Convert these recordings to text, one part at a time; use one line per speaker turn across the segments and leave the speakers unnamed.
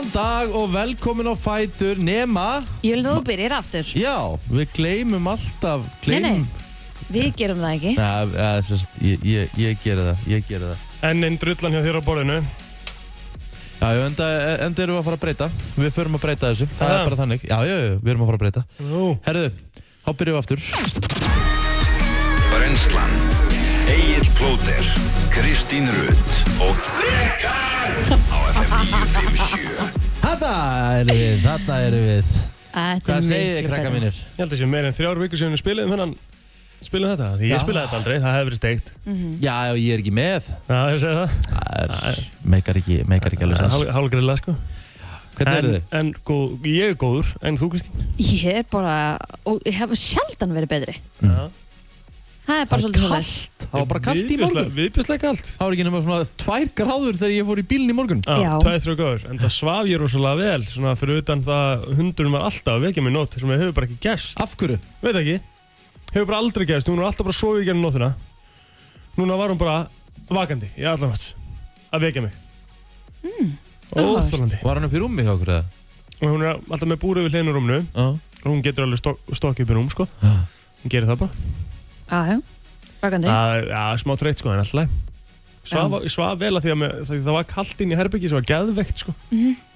og velkomin á Fætur nema
Ég vil að þú byrjir aftur.
Já, við gleymum alltaf
Nei,
gleymum.
nei, við gerum það ekki.
Nei, eða, sérst, ég, ég, ég geri það, ég geri það
Enn einn drullan hjá þér á borðinu.
Já, já, enda, enda erum við að fara að breyta Við förum að breyta þessu, það
Aha.
er bara þannig Já, já, já, við erum að fara að breyta
Nú.
Herðu, þá byrjum við aftur
Brennslan Egil Plóter Kristín Rutt og á FM 957
Þarna erum við, þarna erum við
Þetta er
Hvað segið
miklu
þið, krakka
betra.
mínir?
Ég held að sé meir en þrjár vikur sem við spilaðum hennan spilaðum þetta, því ég
Já.
spilaði þetta aldrei, það hefði verið steikt
Mhm.
Já, já, ég er ekki með
Já, ég segi það,
Það er, meikar ekki, meikar ekki alveg sens
Hál- hálfgreðilega sko
Hvernig
En,
eru þið?
en góð, ég er góður, en þú Kristín?
Ég er bara, og ég hef sjaldan verið betri.
Mm.
Já.
Það er bara svolítið svona þess.
Kallt, það var bara kallt í morgun
Viðbjörslega kallt
Það var ekki nema svona tvær gráður þegar ég fór í bílinn í morgun
Já.
Já, tveið þrjá góður, en það svaf ég rosalega vel svona fyrir utan það hundurinn var alltaf að vekja mig í nótt sem hefur bara ekki gerst,
Af hverju?
veit ekki hefur bara aldrei gerst, hún var alltaf bara að sofa í gerðin nóttina núna var hún bara vakandi í allan nátt að vekja mig mm,
áhugavert.
Óþólandi
Var hann upp í rúmi hjá okkur eða?
og hún er alltaf með búrið við hliðinu á rúmnu
Já
og hún getur alveg stok stokk upp í rúm sko
Já.
hún gerir það bara
Já, já, bakandi.
það er- já, smá þreytt sko en alltaf svaf, svaf vel að því að með, það, það var kallt inn í herbyggi sem var geðveikt sko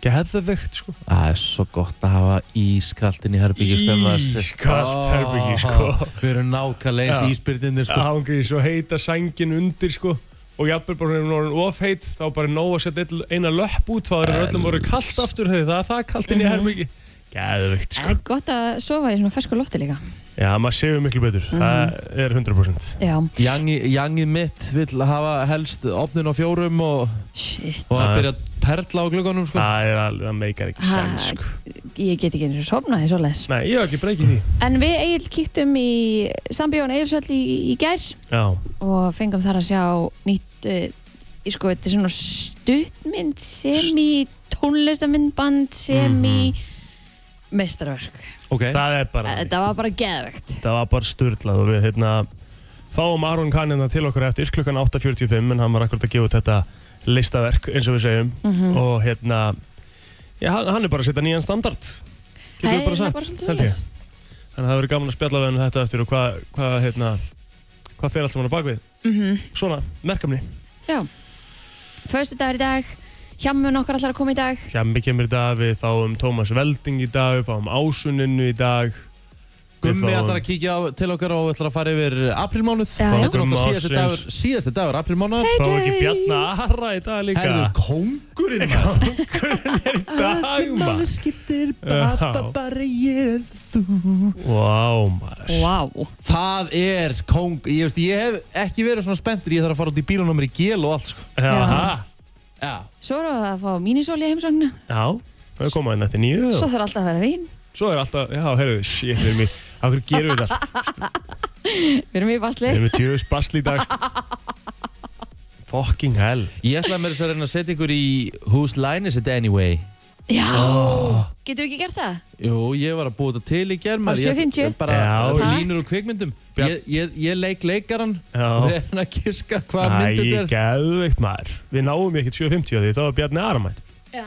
geðveikt sko
Það er svo gott að hafa ískalt inn í Ah. herbyggi stemma þessi.
Ískalt
Ó,
herbergi, sko.
Við erum nákvæmlega
Já.
eins ísbyrðinir sko
ángið svo heita sængin undir sko og jafnvel bara hún orðin ofheit þá bara er nóg að setja einn- eina löpp út þá er öllum orðið kallt aftur þegar það er það kallt inn í herbyggi geðveikt
Það
sko
er gott að sofa í svona fersku lofti líka.
já, maður séu miklu betur, það er 100%
Já,
Jangi, Jangi mitt vill hafa helst opnin á fjórum og,
shit,
og að
Já.
byrja að perla á glöggunum sko
það er alveg, það meikar ekki
Ha,
sens sko
ég get ekki eins og sofnaði svo les.
nei, ég hef ekki breykið því
En við Egil kýttum í Sambjón Egilsöll í, í gær
já,
og fengum þar að sjá nýtt, uh, ég sko, þetta er svona stuttmynd sem í tónlistamindband sem í Mhm. meistarverk.
Ok,
það er bara
Eh, Þetta var bara geðvegt.
það var bara styrlað og við hérna, fáum Aron Kanina til okkar eftir klukkan 8.45 en hann var akkurat að gefa út þetta listaverk eins og við segjum
Mhm.
og hérna já, hann hann er bara að setja nýjan standard getur við bara
Það er
sagt
bara svolítið
held ég.
svoleiðis.
þannig að það verður gaman að spjalla við hann um þetta eftir og hvað hva, hérna, hvað fer alltaf hann á bakvið
Mhm.
svona, merkamni,
Já. Föstu dagur í dag, hjamun okkar allar að koma í dag.
Hjami kemur í dag við fáum Tómas Velding í dag við fáum Ásuninu í dag við
Gummi
fáum-
ætlar að kíkja á, til okkar og ætlar að fara yfir aprílmánuð
Já,
Það
já.
er náttúrulega
Gumma
síðasti
ársins.
dagur, síðasti dagur aprílmánuð
fáum ekki Bjarna Ara í dag líka
Herðu, kóngurinn maður
dag maður
skiptir
ba- ba-
bara ég þú
Vá maður
Vá.
Það er kong, ég, veist, ég hef ekki verið svona spenntur, ég þarf að fara út í bílunum í gél og allt sko.
Jaha,
Já.
Svo erum við að fá mínisóli heimsóknu.
já, við komum að nætti nýju
Svo
og
þarf alltaf að vera vín.
svo er alltaf, já, heyrðu, shit, við erum í, af hverju gerum við þetta allt?
Við erum í basli.
Við erum í tjöðus basl í dag, sko. Fucking hell.
Ég ætla með þess að reyna að setja ykkur í Whose Line Is It Anyway? Oh.
Já. Getum við ekki gert það?
Jú, ég var að búa þetta til í gerð
Á 7.50?
Bara
Já.
Ha?
bara línur úr kvikmyndum
Bjarn-
ég, ég, ég leik leikaran
Já.
og þeir hann að kirka hvað
Æ,
myndið er
geðveikt maður. Við náum ekki 7.50 að því, þá var Bjarni Aramætt.
Já.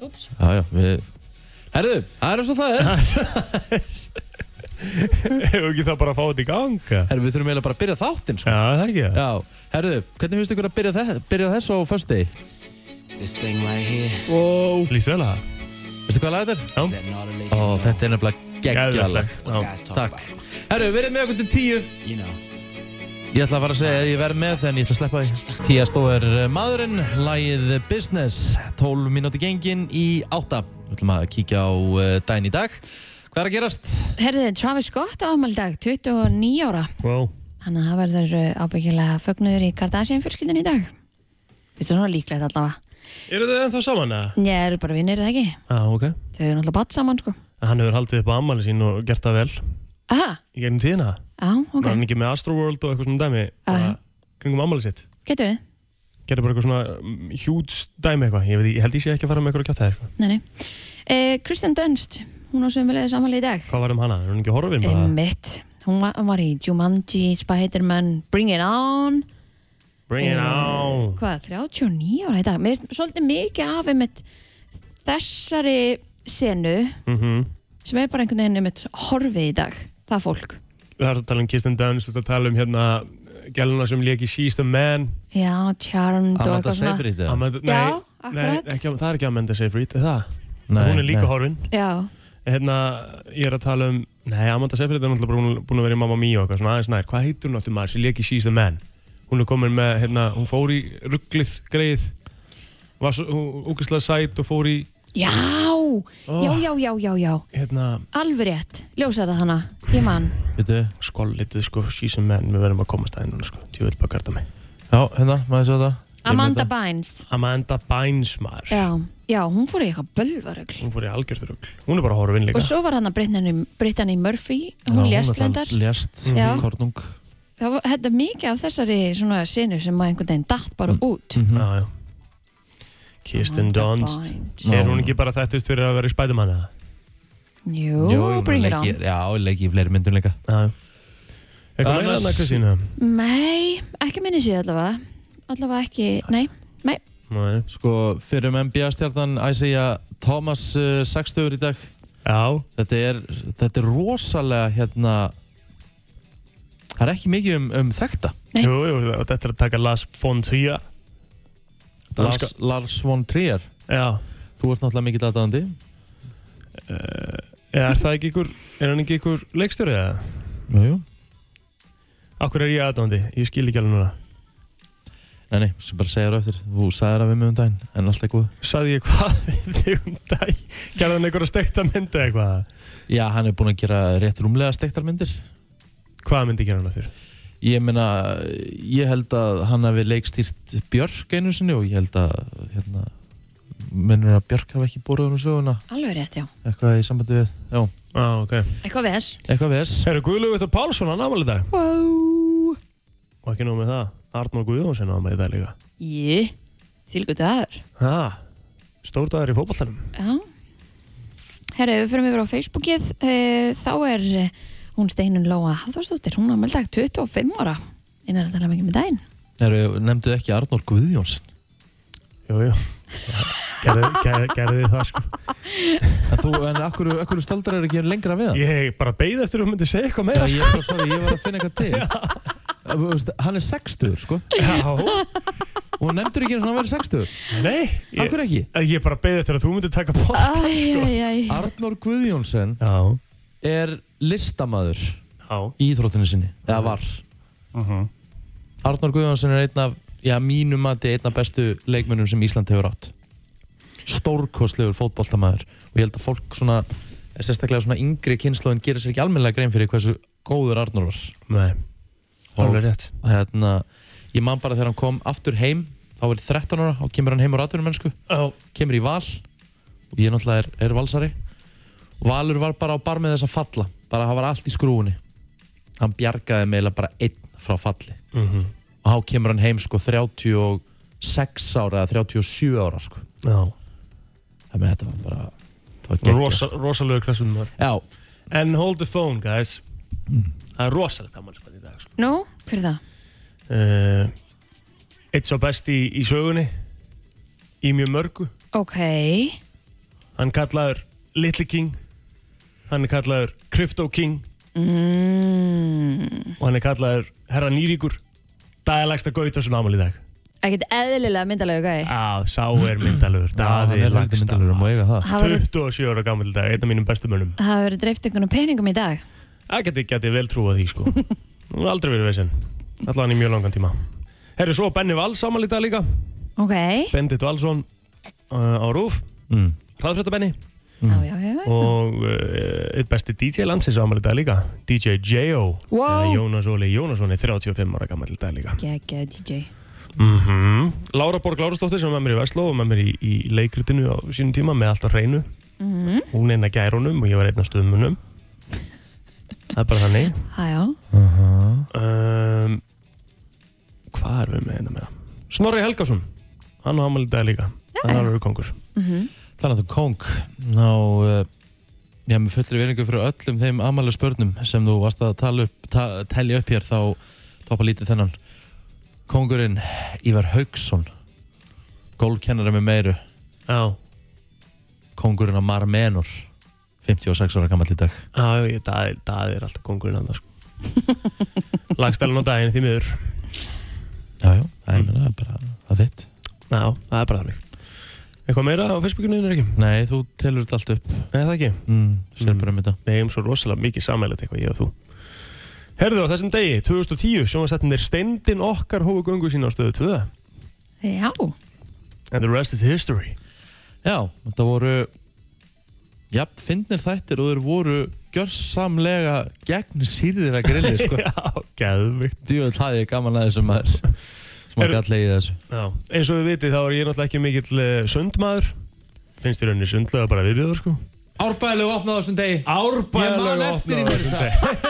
Úps.
Já, já, við Herðu, það er eins og það er
Hefur ekki það bara að fá þetta í ganga?
Herðu, við þurfum eiginlega bara að byrja þáttinn
Já,
sko.
það ekki það.
Já, herðu, hvernig finnst ykkur að byrja, þess, byrja þess á förstu degi?
This thing right here
Lýst vel að það.
Veistu hvað lag þetta er?
Já,
is letting all the ladies
Ó,
know
þetta er nefnilega
geðveikt
geggjalag
lag. Já.
guys talk
Takk.
about,
Herru, verið með okkur til tíu.
you know.
Ég ætla að fara að segja að ég verð með en ég ætla að sleppa því. Tíastó er eh, maðurinn, lagið Business, 12 mínúti gengin í átta. Við ætlum að kíkja á uh, daginn í dag. Hvað er að gerast?
Herðið, Travis Scott á afmæli í dag, 29 ára.
Wow.
Þannig að það verður eh, ábyggilega fögnuður í Kardashian fjölskyldin í dag. Vistu svona líklegt allavega.
Eru þau ennþá saman eða?
Ég er bara vinnir það ekki.
Já, ok.
Þau eru náttúrulega batt saman sko.
Hann hefur haldið upp á ammali sín og gert það vel.
Aha,
Í gegnum tíðina.
já, ok.
Hann er ekki með Astroworld og eitthvað svona dæmi.
já.
bara Kringum ammali sitt.
Getur við?
gerði bara eitthvað svona hjúts dæmi eitthvað, ég, veit, ég held ég sé ekki að fara með eitthvað kjátt það eitthvað.
Nei, nei. Eh, Kristen Dunst, hún á sömulegið samanlega í dag.
Hvað var um hana? Er hún ekki horfin bara?
Mitt. Hún var, hún var í Jumanji, Spider-Man, Bring It On.
Bring it on!
Hvað, 39 ára í dag? Mér finnst svolítið mikið af einmitt þessari senu
Mhm.
sem er bara einhvern veginn einmitt horfið í dag, það fólk
Það er að tala um Kirsten Dunst, þú ert að tala um hérna gæluna sem lék í She's the Man
Já, Charmed og
Amanda
eitthvað svona
Seyfried eða?
Amanda, nei,
Já,
nei,
akkurat.
ekki, það er ekki Amanda Seyfried, er það?
Nei,
hún er líka
nei.
horfin
Já,
hérna, ég er að tala um nei, Amanda Seyfried er náttúrulega búin, búin að vera í Mamma Mia og eitthvað svona aðeins nær, hvað heitir hún áttu maður sem lék í She's the Man hún er komin með, hérna, hún fór í rugglið greið var svo, hún úkislega sæt og fór í
já, já, já, já, já, já
hérna,
Alveg rétt, ljósar það hana, ég man
Veitu,
skollitið sko, She's the Man við verðum að komast aðeins núna sko, ég vil bara garda mig
já, hérna, maður svo það Ég er með
Amanda
þetta.
Bynes
Amanda Bynes maður
Já, já, hún fór í eitthvað bölvarögl
hún fór í algjörður rugg, hún er bara horfin líka
Og svo var hann að Brittany, Brittany Murphy
Já,
hún lést
náttúrulega
lendar
Lést,
Mhm.
Já.
kornung
Það var þetta er mikið af þessari svona senu sem maður einhvern veginn datt bara út
Mhm.
já, já. Kirsten
Amanda
Dunst
Bynes.
er hún ekki bara þekktist fyrir að vera í Spiderman eða?
Jú,
hún
bring it
leiki-
on
Já, hún leiki í fleiri myndum líka
Já. Eitthvað meira
Annars-
annað Kristína?
Nei, ekki minni séð allavega Allavega ekki, nei, nei
Nei.
Sko, fyrir um NBA-stjarnan Isaiah Thomas uh, 60 í dag
Já,
þetta er, þetta er rosalega hérna það er ekki mikið um, um þekta
Nei.
jú, jú, og þetta er að taka Lars von Trier
Lars, Lars von Trier
Já,
þú ert náttúrulega mikill aðdáðandi
Eh, er það ekki ykkur, er hann ekki ykkur leikstjóri eða?
Jújú
Akkur er ég aðdóndi, ég skil ekki alveg núna
Nei, nei, sem bara segja þér á eftir þú sagðir að við mig um daginn en alltaf góð
Saði ég hvað við þig um dag Gerði hann einhverja steikta myndi eitthvað
Já, hann er búinn að gera rétt rúmlega steiktarmyndir
Hvað myndi gera hann að þér?
Ég meina, ég held að hann hafi leikstýrt Björk einu sinni og ég held að hérna, mennur að Björk hafi ekki borðið um söguna
Alveg rétt, já
eitthvað í sambandi við, já,
Á, ah, ok
Eitthvað ves
eitthvað við þess
Herru, Guðlaug Vittur Pálsson, hann ámæli dag
Wow
Og ekki nóg með það, Arnór Guðjónsson ámæli dag líka
Jí, þýlgu dagur
Ha, stór dagur í fótballtanum
Já Herra, ef við fyrir yfir á Facebookið e, þá er eh, hún Steinun Lóa Hafþórsdóttir, hún er meldag 25 ára innan að tala mikið með daginn
Eru, nefndu ekki Arnór Guðjónsson
Jú, jú Gerði, gerði, gerði það sko
En þú, en akkur, akkur staldrar er ekki lengra við hann?
Ég bara beigð eftir að þú myndir segja eitthvað
Já,
meira sko.
ég, bara, sorry, ég var að finna eitthvað til Þú veist, Hann er 60, sko
Já,
og nefndur ekki eins og hann verið 60
nei ég,
Akkur ekki?
ég bara beigð eftir að þú myndir taka bótt sko.
Æjæjæj
Arnór Guðjónsson
Já,
er listamaður
já Mhm.
í íþróttinu sinni, eða var Arnór Guðjónsson er einn af já, mínum mati einn af bestu leikmönnum sem Ísland hefur átt stórkostlegur fótboltamaður og ég held að fólk svona sérstaklega svona yngri kynnslóðin gerir sér ekki almennilega grein fyrir hversu góður Arnór var
Nei,
alveg
rétt
hérna, ég man bara þegar hann kom aftur heim þá var ég 13 ára og kemur hann heim á ratunum mennsku
Já,
kemur í val og ég náttúrulega er, er valsari Valur var bara á bar með þess að falla bara það var allt í skrúunni hann bjargaði meila bara einn frá falli
Mhm.
og þá kemur hann heim sko 36 ára eða 37 ára sko
já
þannig að þetta var bara það var geggjað,
Rosa, Rosalegu klassum maður
sko. já,
And hold the phone, guys Það er rosalegt ammælisbætt í dag sko.
Nú, hver er það?
uh, Eitt svo best í, í sögunni Í mjög mörgu
Ok,
Hann kallaður Little King Hann er kallaður Crypto King mm. Og hann er kallaður Herra Nýríkur Dælægsta Gautarsson ámæli í dag
ekkert eðlilega myndalega gæði
Já, sá er myndalur
hann
Daði
er langt
Laxdal
myndalur um að eiga það
Það
27 ára gammal dag, einn af mínum bestu mönnum
hafa verið dreift einhvern peningum í dag
Það geti geti vel trúað því sko Hún er aldrei verið vesinn Alltaf hann í mjög langan tíma Herri, svo Benni Valls ámæli í dag líka
Ok,
Bendit Valsson uh, á Rúf
mm.
Hraðfrétta Benni
já, já, já, já.
Og uh, eitt besti DJ landsins ámæli í dag líka DJ J.O.
Wow.
Eh, Jónas Óli Jónasson er 35 ára gammal dag líka
Gekkja DJ
mm Lára Borg Lárasdóttir sem er með mér í Vestló og með mér í, í leikritinu á sínum tíma með allt á hreinu
Mm.
hún er einn að gærunum og ég var einn að stöðmunum það er bara þannig
Hæjá,
um, hvað erum við með hérna meira? Snorri Helgason hann á ámæli í dag líka hann er alveg kongur
þannig að þú kong ná, uh, já, með fullri veringu fyrir öllum þeim amalega spörnum sem þú varst að tala upp, ta telja upp hér þá topa lítið þennan kongurinn Ívar Haugsson gólkennara með meiru
já
kongurinn á Marmenor 56 ára gammal í dag
Já, ég- Daði Daði er alltaf kongurinn hann sko. Lagstælan á daginn því miður
Já, já, það er, mm. bara það er þitt
Já, það er bara þannig Eitthvað meira á Facebookinu þínu er ekki?
Nei, þú telur þetta allt upp
Nei, það ekki
mm, Sér
Mm.
bara um þetta
Við hefum svo rosalega mikið samælið eitthvað ég og þú Herðu á þessum degi, 2010 sjónvarsættinir Steindin okkar hófu göngu sína á stöðu 2
Já,
And the rest is history
Já, þetta voru Já, finnir þættir og þeir voru gjörsamlega gegn sýrðir að grilli sko.
Já, geðvikt
Djúvel hafði ég gaman að þessum maður sem að
Eru-
galla í þessu
Já, eins og við vitið þá er ég náttúrulega ekki mikill eh, sundmaður Finnst þér henni sundlega bara viðbjöður sko
Árbæðilegu opnaði á þessum degi Ég man
Árbæðalega
eftir í mér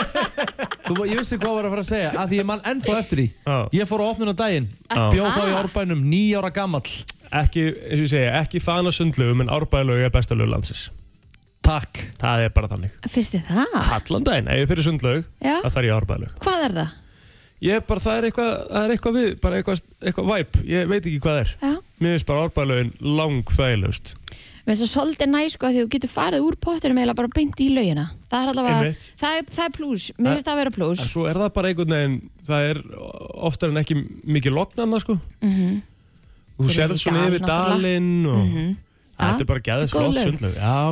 Þú, Ég vissi hvað var að fara að segja að því ég man ennþá eftir í
Já.
Ég fór á opnun á daginn
Já.
Bjóð þá í árbænum nýja ára gamall
Ekki, eins og ég segja, ekki fana sundlögum en árbæðalög er besta lög landsins
Takk
Það er bara þannig
finnst þið það?
Allan daginn, ef ég fyrir sundlög,
Já,
það þarf ég árbæðalög
hvað er það?
Ég er bara, það er eitthvað, það er eitthvað við, bara eitthvað, eitthvað væp, ég veit ekki hvað það er.
Já,
Mér finnst bara árbæðalögin lang þægilegust.
Mér finnst það svolítið næ sko af því þú getur farið úr pottunum eða bara beint í laugina. Það er allavega,
Einmitt.
það er, það er plús, mér finnst það að vera plús.
En svo er það bara einhvern veginn, það er oftar en ekki mikið lognanna, sko. Þú
Mhm. Fyrir
sérð
í
svona
dal,
yfir
náttúrulega.
dalinn og
Mhm.
þetta
Ja,
er bara gæðið
góð
flott
lög.
sundlög. Já,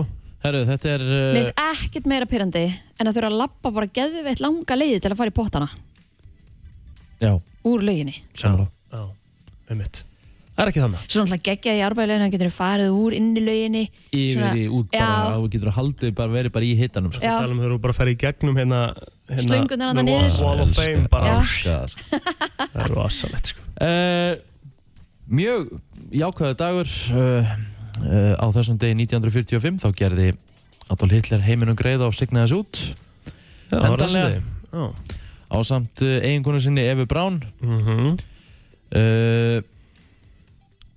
Herru, þetta er
Mér
uh,
finnst ekkert meira pyrrandi en að þurfa að lappa bara geðveitt langa leiði til að fara í pottana
Já,
úr lauginni.
sammála
já, einmitt. Það er ekki þannig.
Svo náttúrulega geggjaði í árbæðileginu að getur farið úr inn í lauginni.
Yfir í út bara
Já.
og getur að haldið bara verið bara í hittanum sko.
Já.
Við talum um þegar þú bara ferð í gegnum hérna, hérna
Slöngunar þarna
the
niður.
Wall of Fame bara.
Já.
Elska það, sko.
Það er rosalegt, sko.
Eh, Mjög jákvæðu dagur uh, uh, á þessum degi 1945 þá gerði Adolf Hitler heiminum greiða og signaði þessu út
Já, það var
Endanlega.
þessi degi. Já.
á samt uh, eiginkonu sinni Evu Braun
Mhm.
uh,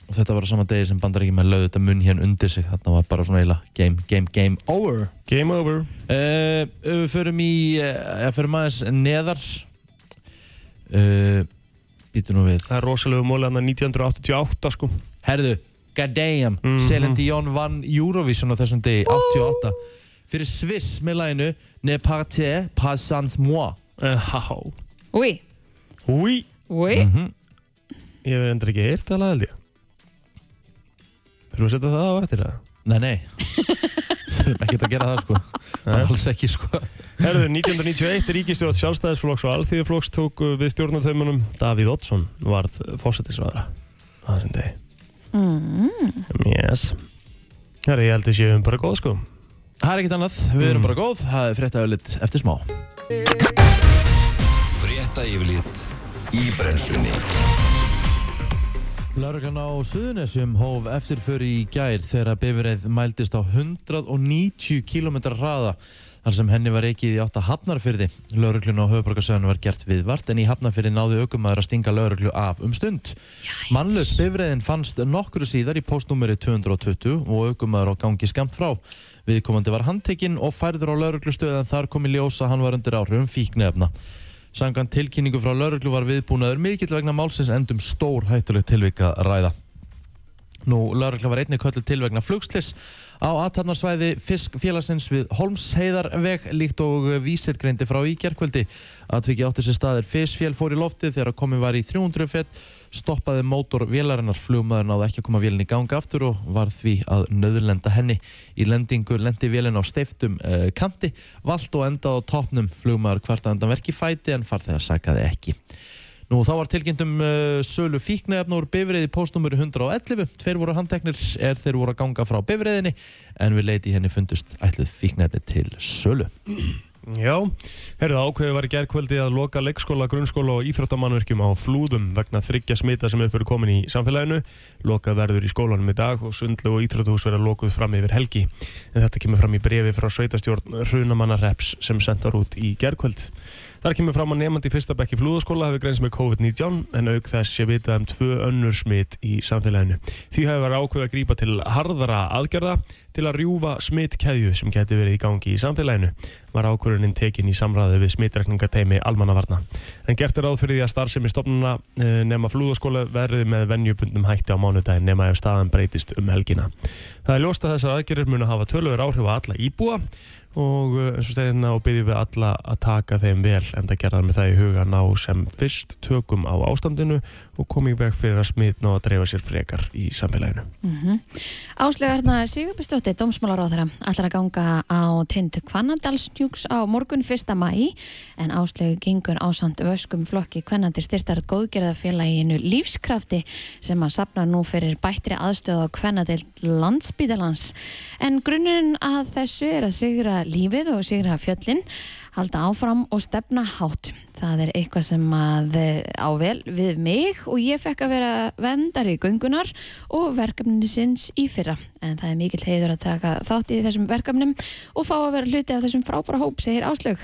og þetta var á sama degi sem bandaríkjum með löðu þetta munn hérna undir sig þarna var bara svona eiginlega game, game, game over
Game over.
uh, Við förum í uh, förum aðeins neðar uh, býtu nú við
Það er rosalegu móli hann 1988 sko
Herðu, goddamn, mm
Mhm.
Celine Dion vann Eurovision á þessum degi, 88 fyrir Sviss með læginu Ne partez pas sans moi
Há
Úi,
Húi
úi,
Mhm. Ég hef endur ekki heyrt það held ég Þurfum við að setja það á eftir það?
Nei, nei Þurfum ekkert að gera það sko Bara alls ekki sko
Herðu, 1991 ríkistjóð sjálfstæðisflokks og alþýðuflokks tók uh, við stjórnartaumunum Davíð Oddsson varð fósettisraðara á þessum degi mm. Yes Herðu, ég held að séum bara góð sko
Það er ekkert annað, við erum bara góð Það er frétta öðlitt eftir smá
Frétta yfirlit í brennslunni
Lörglann á Suðunessum hóf eftirför í gær þegar bifreið mældist á 190 km hraða þar sem henni var ekið í átta hafnarfyrði. Lörglun á höfuborgarsöðunum var gert viðvart en í hafnarfyrði náði aukumæður að stinga lörglu af um stund. Mannlaus bifreiðin fannst nokkru síðar í postnúmeri 220 og aukumæður á gangi skamt frá. Viðkomandi var handtekinn og færður á lörglustöð en þar kom í ljós að hann var undir áhrifum fíknefna. Sangan tilkynningu frá lauruglu var viðbúnaður mikill vegna málsins endum stór hættulegt tilvika ræða. Nú, laurugla var einnig köllu til vegna flugslis á aðtapnarsvæði fiskfélagsins við Holmsheiðarveg líkt og vísir greindi frá í gerkvöldi. Atviki átti sér staðir fiskfél fór í loftið þegar komið var í 300 fett, stoppaði mótor vélarinnar, flugmaður náði ekki að koma vélinn í gang aftur og var því að nöðurlenda henni. Í lendingu lendi vélinn á steiftum uh, kanti, vald og endað á topnum, flugmaður hvart að endan verki fæti en farþegar sakaði ekki. Nú þá var tilkynnt um uh, sölu fíknefna úr bifreið í postnúmeri 111. Tveir voru handteknir er þeir voru að ganga frá bifreiðinni en við leiti henni fundust ætluð fíknefni til sölu.
Já, herðu ákveðið var í gerðkvöldi að loka leikskóla, grunnskóla og íþróttamannverkjum á flúðum vegna þryggja smita sem hefur komin í samfélaginu. Lokað verður í skólanum í dag og sundlu og íþróttahús verða lokuð fram yfir helgi. En þetta kemur fram í brefi frá sveitastjórn Hrunamannareps sem sendar út í gerðkvöld. Þar kemur fram að nefandi í fyrsta bekki flúðaskóla hafi greinst með COVID-19 en auk þess sé vitað um tvö önnur smitt í samfélaginu. Því hafi verið ákveð að grípa til harðara aðgerða til að rjúfa smittkeðju sem geti verið í gangi í samfélaginu. Var ákvörunin tekin í samræðu við smittrekningateimi almannavarna. En gert er ráð fyrir því að starfsemi stofnuna eh, nema flúðaskóla verði með venjubundum hætti á mánudaginn nema ef staðan breytist um helgina. Það er ljóst að þessar aðgerðir munu hafa tölver áhrif á alla íbúa og eh, eins og steginna og byrjum við alla að taka þeim vel en það gerðar með það í huga að ná sem fyrst tökum á ástandinu og komið veg fyrir að smitna og að dreifa sér frekar í samfélaginu.
Áslega Arna Mhm. Sigurbjörnsdóttir, dómsmálaráðara, ætlar að ganga á tind Kvannadalsnjúks á morgun 1. mæ en Áslega gengur ásamt vöskum flokki kvennandi styrtar góðgerðafélaginu Lífskrafti sem að sapna nú fyrir bættri aðstöð á kvennadil landsbítalans. En grunnurinn að þessu er að sigra lífið og sigra fjöllin halda áfram og stefna hátt. Það er eitthvað sem að eh, á vel við mig og ég fekk að vera vendari göngunar og verkefninu sinns í fyrra. En það er mikill heiður að taka þátt í þessum verkefnum og fá að vera hluti af þessum frábæra hóp, segir Áslaug.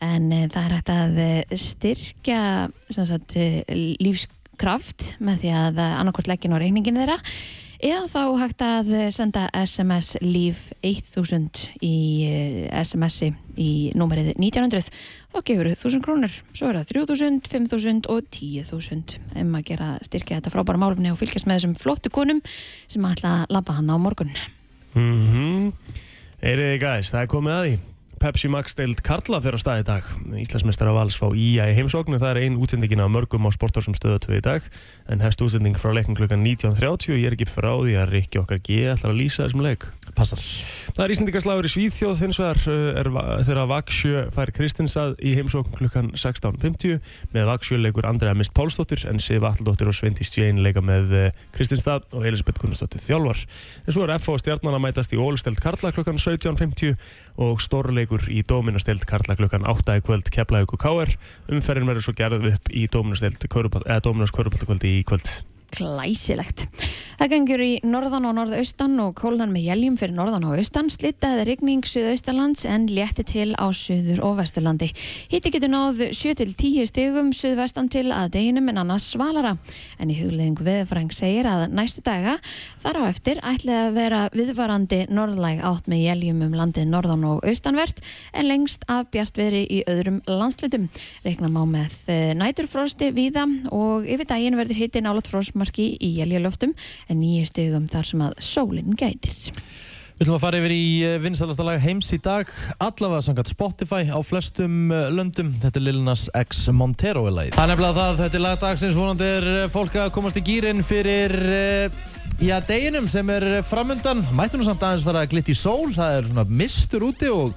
En eh, það er hægt að eh, styrkja sem sagt, eh, lífskraft með því að eh, annarkort leggin á reyningin þeirra eða þá hægt að senda SMS líf 1000 í eh, SMS-i í númerið 1900 og gefur 1000 krónur svo er það 3000, 5000 og 10.000 um að gera styrkja þetta frábæra málumni og fylgjast með þessum flottu konum sem ætla að labba hann á morgun
Mm Eriði gæs, það er komið að því. Pepsi Max deild Karla fyrir á stað í dag. Íslandsmeistara Vals fá IA í heimsóknu. Það er ein útsendingin af mörgum á sportarsum stöðu 2 í dag. En hefst útsending frá leikum klukkan 19.30. Ég er ekki frá því að Rikki okkar G ætlar að lýsa þessum leik.
Passar.
Það er Íslandingarslagur í Svíþjóð hins vegar uh, er, va- þegar Vaksjö fær Kristinsað í heimsókn klukkan 16.50 með Vaksjö leikur Andrea Mist Pálsdóttir en Sif Alldóttir og Svendís Jane leika með uh, Kristinstað og Elisabeth Gunnarsdóttir þjálfar. En svo er FH Stjarnan að mætast í Ólsteld Karla klukkan 17.50 og stórleikur í Dóminasteld Karla klukkan 8 í kvöld Keflavík og KR. Umferðin verður svo gerð upp í Dóminasteld Dóminast Körubaltakvöldi í kvöld.
glæsilegt. Það gengur í norðan og norðaustan og kólnan með jæljum fyrir norðan og austan, slitaði rigning suðaustalands en létti til á suður og vesturlandi. Hitti getur náð 7-10 stigum suðvestan til að deginum en annars svalara. En í hugleðing viðfræng segir að næstu daga þar á eftir ætli að vera viðvarandi norðlæg átt með jæljum um landið norðan og austanvert en lengst af bjartveri í öðrum landslutum. Rekna má með eh, næturfrosti víða og yfir daginn verður hitti nálat frostmarki í jæljalöftum en nýju stugum þar sem að sólinn gætir.
Við ætlum að fara yfir í vinsalasta lag heims í dag, allavega samkvæmt Spotify á flestum eh, löndum. Þetta er Lil Nas X Montero í lagið. Það er nefnilega það, þetta er lagdagsins, vonandi er eh, fólk að komast í gýrin fyrir, eh, já, deginum sem er eh, framundan. Mættum nú samt aðeins fara að glitt í sól, það er svona mistur úti og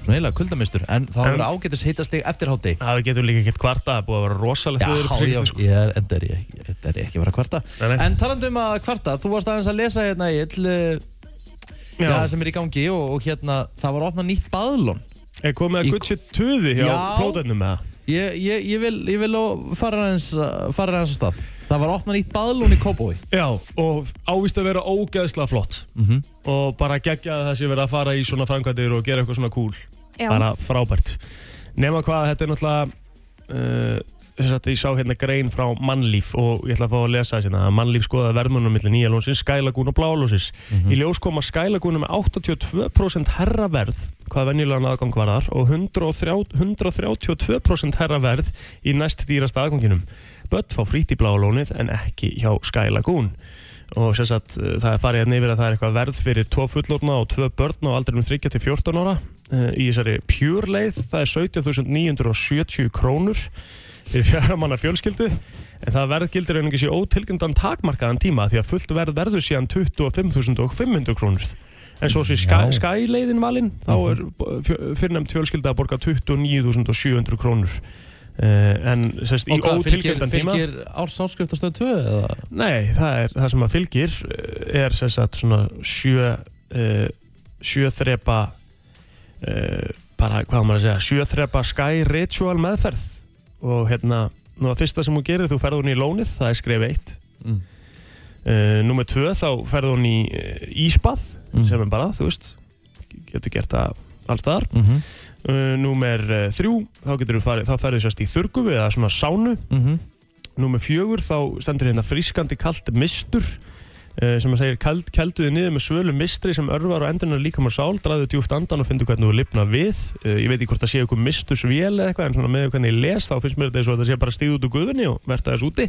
svona heila kuldamistur, en það verður ágætis hitastig eftir hátti.
Það við getum líka ekkert kvarta, það er búið að vera rosalegt
Já,
veður upp
já,
síðustu, sko.
ég er, enda er ég, ekki- enda er ég ekki að vera að kvarta
Nei, nei.
En talandi um að kvarta, þú varst aðeins að lesa hérna í ill Já,
Já.
það sem er í gangi og, og hérna, það var opnað nýtt baðlón
Er komið að
Í-
Gucci tuði hjá
Já.
plótarnum með það?
Ég, ég, ég vil, ég vil á- fara aðeins fara aðeins að stað Það var opnað nýtt baðlón í Kópói
Já, og ávist að vera ógeðslega flott -hmm. og bara geggja að það sé verið að fara í svona framkvæmdir og gera eitthvað svona cool
Já.
bara frábært Nefna hvað, þetta er náttúrulega uh, þess að ég sá hérna grein frá mannlíf og ég ætla að fá að lesa þess hérna að mannlíf skoðaði verðmunum millir nýja lónsins, skælagún og blálónsins Í ljós kom að skælagúnum með 82% herra verð hvað venjulegan aðgang varðar og 130, 132% herra verð í næst dýrast aðganginum Bött fá frýtt í bláa lónið en ekki hjá skælagún og sem sagt, eh, það er farið að neyfir að það er eitthvað verð fyrir tvo fullorna og tvö börn á aldrinum 30 til 14 ára Eh, í þessari pjúrleið, það er 17.970 krónur fyrir fjara manna fjölskyldu en það verð gildir einhverjum sér ótilgjöndan takmarkaðan tíma því að fullt verð verður síðan 25.500 krónur en svo sé
Já. Mhm.
skæleiðin valinn þá er fyrirnæmt fjölskylda að borga 29.700 krónur uh, en sérst, í
Og hvað, fylgir,
ótilgjöndan tíma
fylgir ársáskriftastöð 2 eða?
Nei, það, er, það sem að fylgir eh, er sem sagt svona sjö, uh, sjö þrepa uh, bara hvað á maður að segja sjö þrepa sky ritual meðferð og hérna, nú að fyrsta sem hún gerir þú ferð hún í lónið, það er skref 1
Mm.
uh, Númer 2 þá ferð hún í uh, íspað
Mm.
sem er bara, þú veist getur gert það allstaðar
Mm -hmm.
uh, Númer uh, þrjú, þá getur þú farið, þá ferðu sérst í þurgu eða svona sánu
Mhm.
Númer fjögur, þá stendur hérna frískandi kalt mistur uh, sem að segir kald, kelduði niður með svölu mistri sem örvar og endunar líka með sál draðu djúft andan og finndu hvernig þú lifna við uh, ég veit ekki hvort það sé eitthvað mistusvél eða eitthvað en svona með hvernig ég les þá finnst mér þetta eins og þetta sé bara stíð út úr guðunni og verta þess úti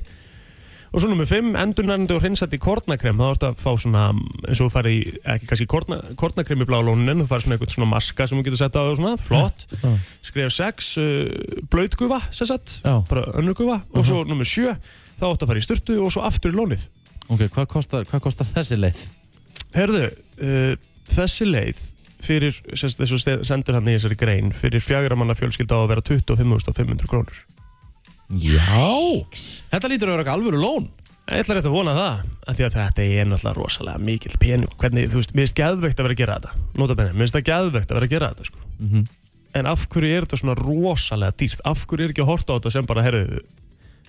og svo nummer 5, endurnærandi og hreinsandi kornakrem þá ertu að fá svona, eins og þú farið í ekki kannski korna, kornakrem í blá lónin þú farið svona eitthvað svona maska sem þú getur sett á og svona flott,
Já.
skref 6 uh, blautgufa, sem sagt
Já, Mhm.
bara önnurgufa og svo nummer 7 þá átt að fara í styrtu og svo aftur í lónið
ok, hvað kostar, hvað kostar þessi leið?
Herðu, uh, þessi leið fyrir, sérst, þessu ste- sendur hann í þessari grein fyrir fjagra manna fjölskylda á að vera 25.500 krónur
Já! Þetta lítur að vera eitthvað alvöru lón.
Ég ætla rétt að vona það, af því að þetta er náttúrulega rosalega mikill pening hvernig, þú veist, mér finnst geðveikt að vera að gera þetta nota benni, mér finnst það geðveikt að vera að gera þetta sko.
Mhm.
en af hverju er þetta svona rosalega dýrt, af hverju er ekki að horta á þetta sem bara, herðu,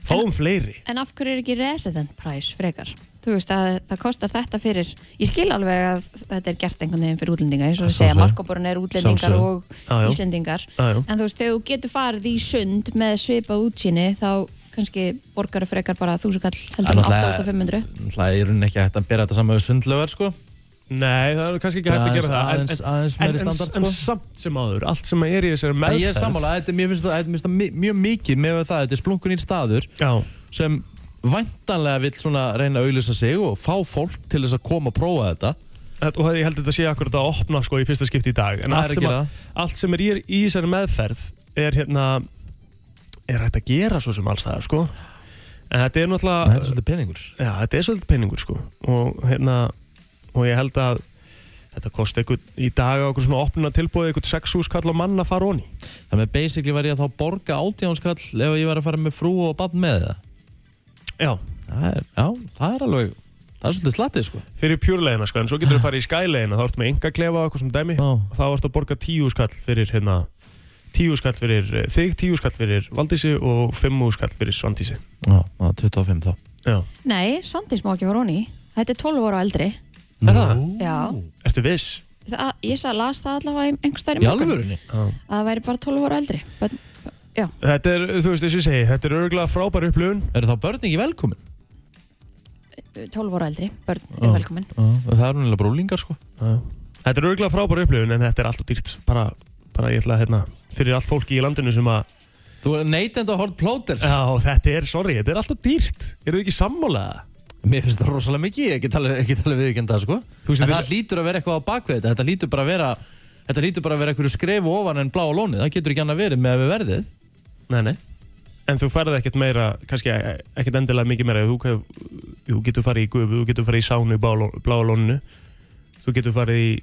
fáum fleiri
En af hverju er ekki resident price frekar? Þú veist að það kostar þetta fyrir Ég skil alveg að þetta er gert einhvern veginn fyrir útlendinga eins og þú segja
Sjálfsögðu.
markoborun er útlendingar
Sjálfsögðu.
og
Já, já.
íslendingar
Já, já.
En þú veist, þegar þú getur farið í sund með svipa útsýni þá kannski borgar frekar bara þúsukall heldur en
Það er
8500
náttúrulega- Það er í rauninni ekki hægt að bera þetta saman við sundlögar, sko.
Nei, það er kannski ekki hægt að
Aðeins-
gera það en-
aðeins-
en-
aðeins meiri
en- en-
standard,
En
sko.
samt sem áður, allt sem er í þessari
En
meðferð
ég er sammála, þetta, mér finnst það- þetta- mér finnst það mi- mjög mikið með það, þetta er splunkunýr staður
Já,
sem væntanlega vill svona reyna að auðlýsa sig og fá fólk til þess að koma að prófa þetta.
þetta- og ég held að þetta sé akkurat að opna sko í fyrsta skipti í dag En
Það er
allt
að
sem,
gera
að, allt sem er í, í þessari meðferð er hérna er hægt að gera svo sem alls það er sko En þetta er náttúrulega
Þetta er svolítið peningur.
Já, þetta er svolítið penningur sko og hérna, og ég held að þetta kosti eitthvað í dag á okkur svona opnuna tilbúið eitthvað sex hús kall á mann að fara onni
Þannig að basically var ég að þá borga átjánskall ef ég var að fara með frú og bann með það.
Já,
það er, já, það er alveg, það er svolítið slattið, sko.
fyrir pjúrlegina sko, en svo getur þú farið í skælegina þá ertu með enga klefa og eitthvað sem dæmi
Já.
og þá ertu að borga tíu skall fyrir hérna tíu skall fyrir eh, þig, tíu skall fyrir Valdísi og fimmu skall fyrir Svandísi
Já, já, 25 þá.
Já,
Nei, Svandís má ekki fara honi Þetta er 12 ára og eldri
er það?
Já,
Mm. Ertu viss?
það, ég sagði las það allavega einhvers stær
Í alvörinni?
að það væri bara 12 ára og eldri But, Já,
Þetta er, þú veist, þess að segja, þetta er örgulega frábær upplöfun
Eru þá börn ekki velkomin?
12 ára og eldri, börn
Já.
er velkomin
Já, það eru náttúrulega brólingar, sko.
Þetta er örgulega frábær upplöfun en þetta er alltaf dýrt bara, bara ég ætla að hérna fyrir allt fólki í landinu sem að
Þú er neytend að hort plóters.
Já, þetta er, sorry, þetta er alltaf dýrt Eru þið ekki sammálaða?
Mér finnst það rosalega mikið, ég get alveg, ekki talið viðkjönda sko.
Þú veist,
En
þess-
það lítur að vera eitthvað á bakvið þetta, þetta lítur bara að vera, þetta lítur bara að vera einhverju skrefu ofan en blá lónið, það getur ekki annað verið með að við verðið.
Nei, nei En þú færði ekkert meira, kannski e- ekkert endilega mikið meira Þú, hef, þú getur farið í gufu, þú getur farið í sánu í bláa- bláa lóninu Þú getur farið í,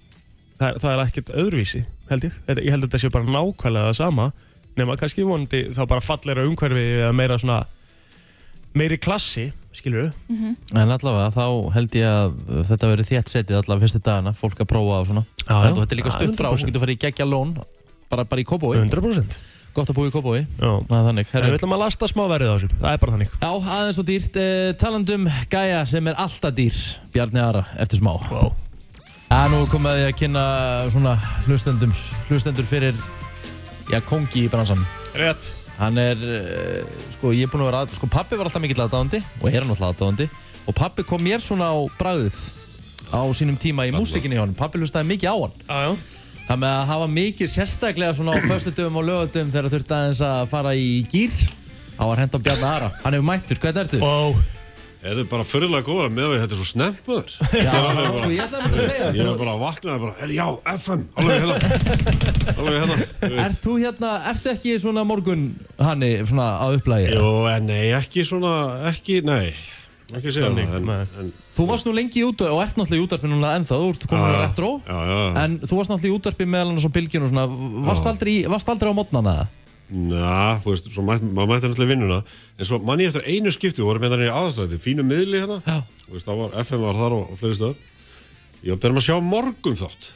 það, er- það er ekkert öðruvísi, held ég Þetta- Ég held að þetta sé bara nákvæmlega það sama Nefna kannski vonandi þá bara fallera umhverfi eða meira svona Meiri klassi, skilur við
En allavega, þá held ég að uh, þetta verið þétt setið allavega fyrstu dagana, fólk að prófa og svona.
Já,
En þú- Þetta er líka stutt frá, þú getur farið í geggja lón, bara, bara í Kópói,
100%
gott að búa í Kópói.
Já
Það er
En
þannig, herru.
við ætlum að lasta smá verið á þessu, það er bara þannig
Já, aðeins og dýrt, eh, talandum gæja sem er alltaf dýr, Bjarni Ara, eftir smá.
wow.
Já, nú er komið að ég að kynna svona hlustendum, hlustendur fyrir, já, kongi í bransanum.
Rétt
Hann er, uh, sko, ég er búinn að vera, að, sko, pappi var alltaf mikill aðdáðandi og er hann alltaf aðdáðandi og pappi kom mér svona á bragðið á sínum tíma í músikinni hjá hann. Pappi hlustaði mikið á hann.
Já, já
Það með að hafa mikið sérstaklega svona á föstudöfum og lögadöfum þegar þurfti aðeins að fara í gýr. Það var hend á Bjarni Ara. Hann hefur mættur, hvernig ertu?
Wow
Er þið bara fyrirlega góða með að þetta er svo snemmt maður?
Já,
Ég er alveg
sko, ég ætlaði að mynda að segja.
Ég er bara að vakna og bara, er, já, FM, alveg hérna, alveg hérna.
Ert þú hérna, ertu ekki svona morgun, Hanni, svona á upplægi?
Jó, en nei, ekki svona, ekki, nei, ekki segja það. En,
nei.
en,
Þú varst nú lengi í útvarpi og ert náttúrulega í útvarpi núna ennþá, þú ert komin að
Já,
retro
já, já.
En þú varst náttúrulega í útvarpi meðal annars á bylginu og svona varst aldrei, í- varst aldrei á mótnana?
na, þú veist, svo mætt, maður mætti náttúrulega í vinnuna, en svo mann ég eftir einu skipti, við vorum hérna í aðastrætti, fínu miðli hérna,
Já.
þú veist, það var, FM var þar og, og fleiri stöð. Ég var bara að sjá morgun þátt.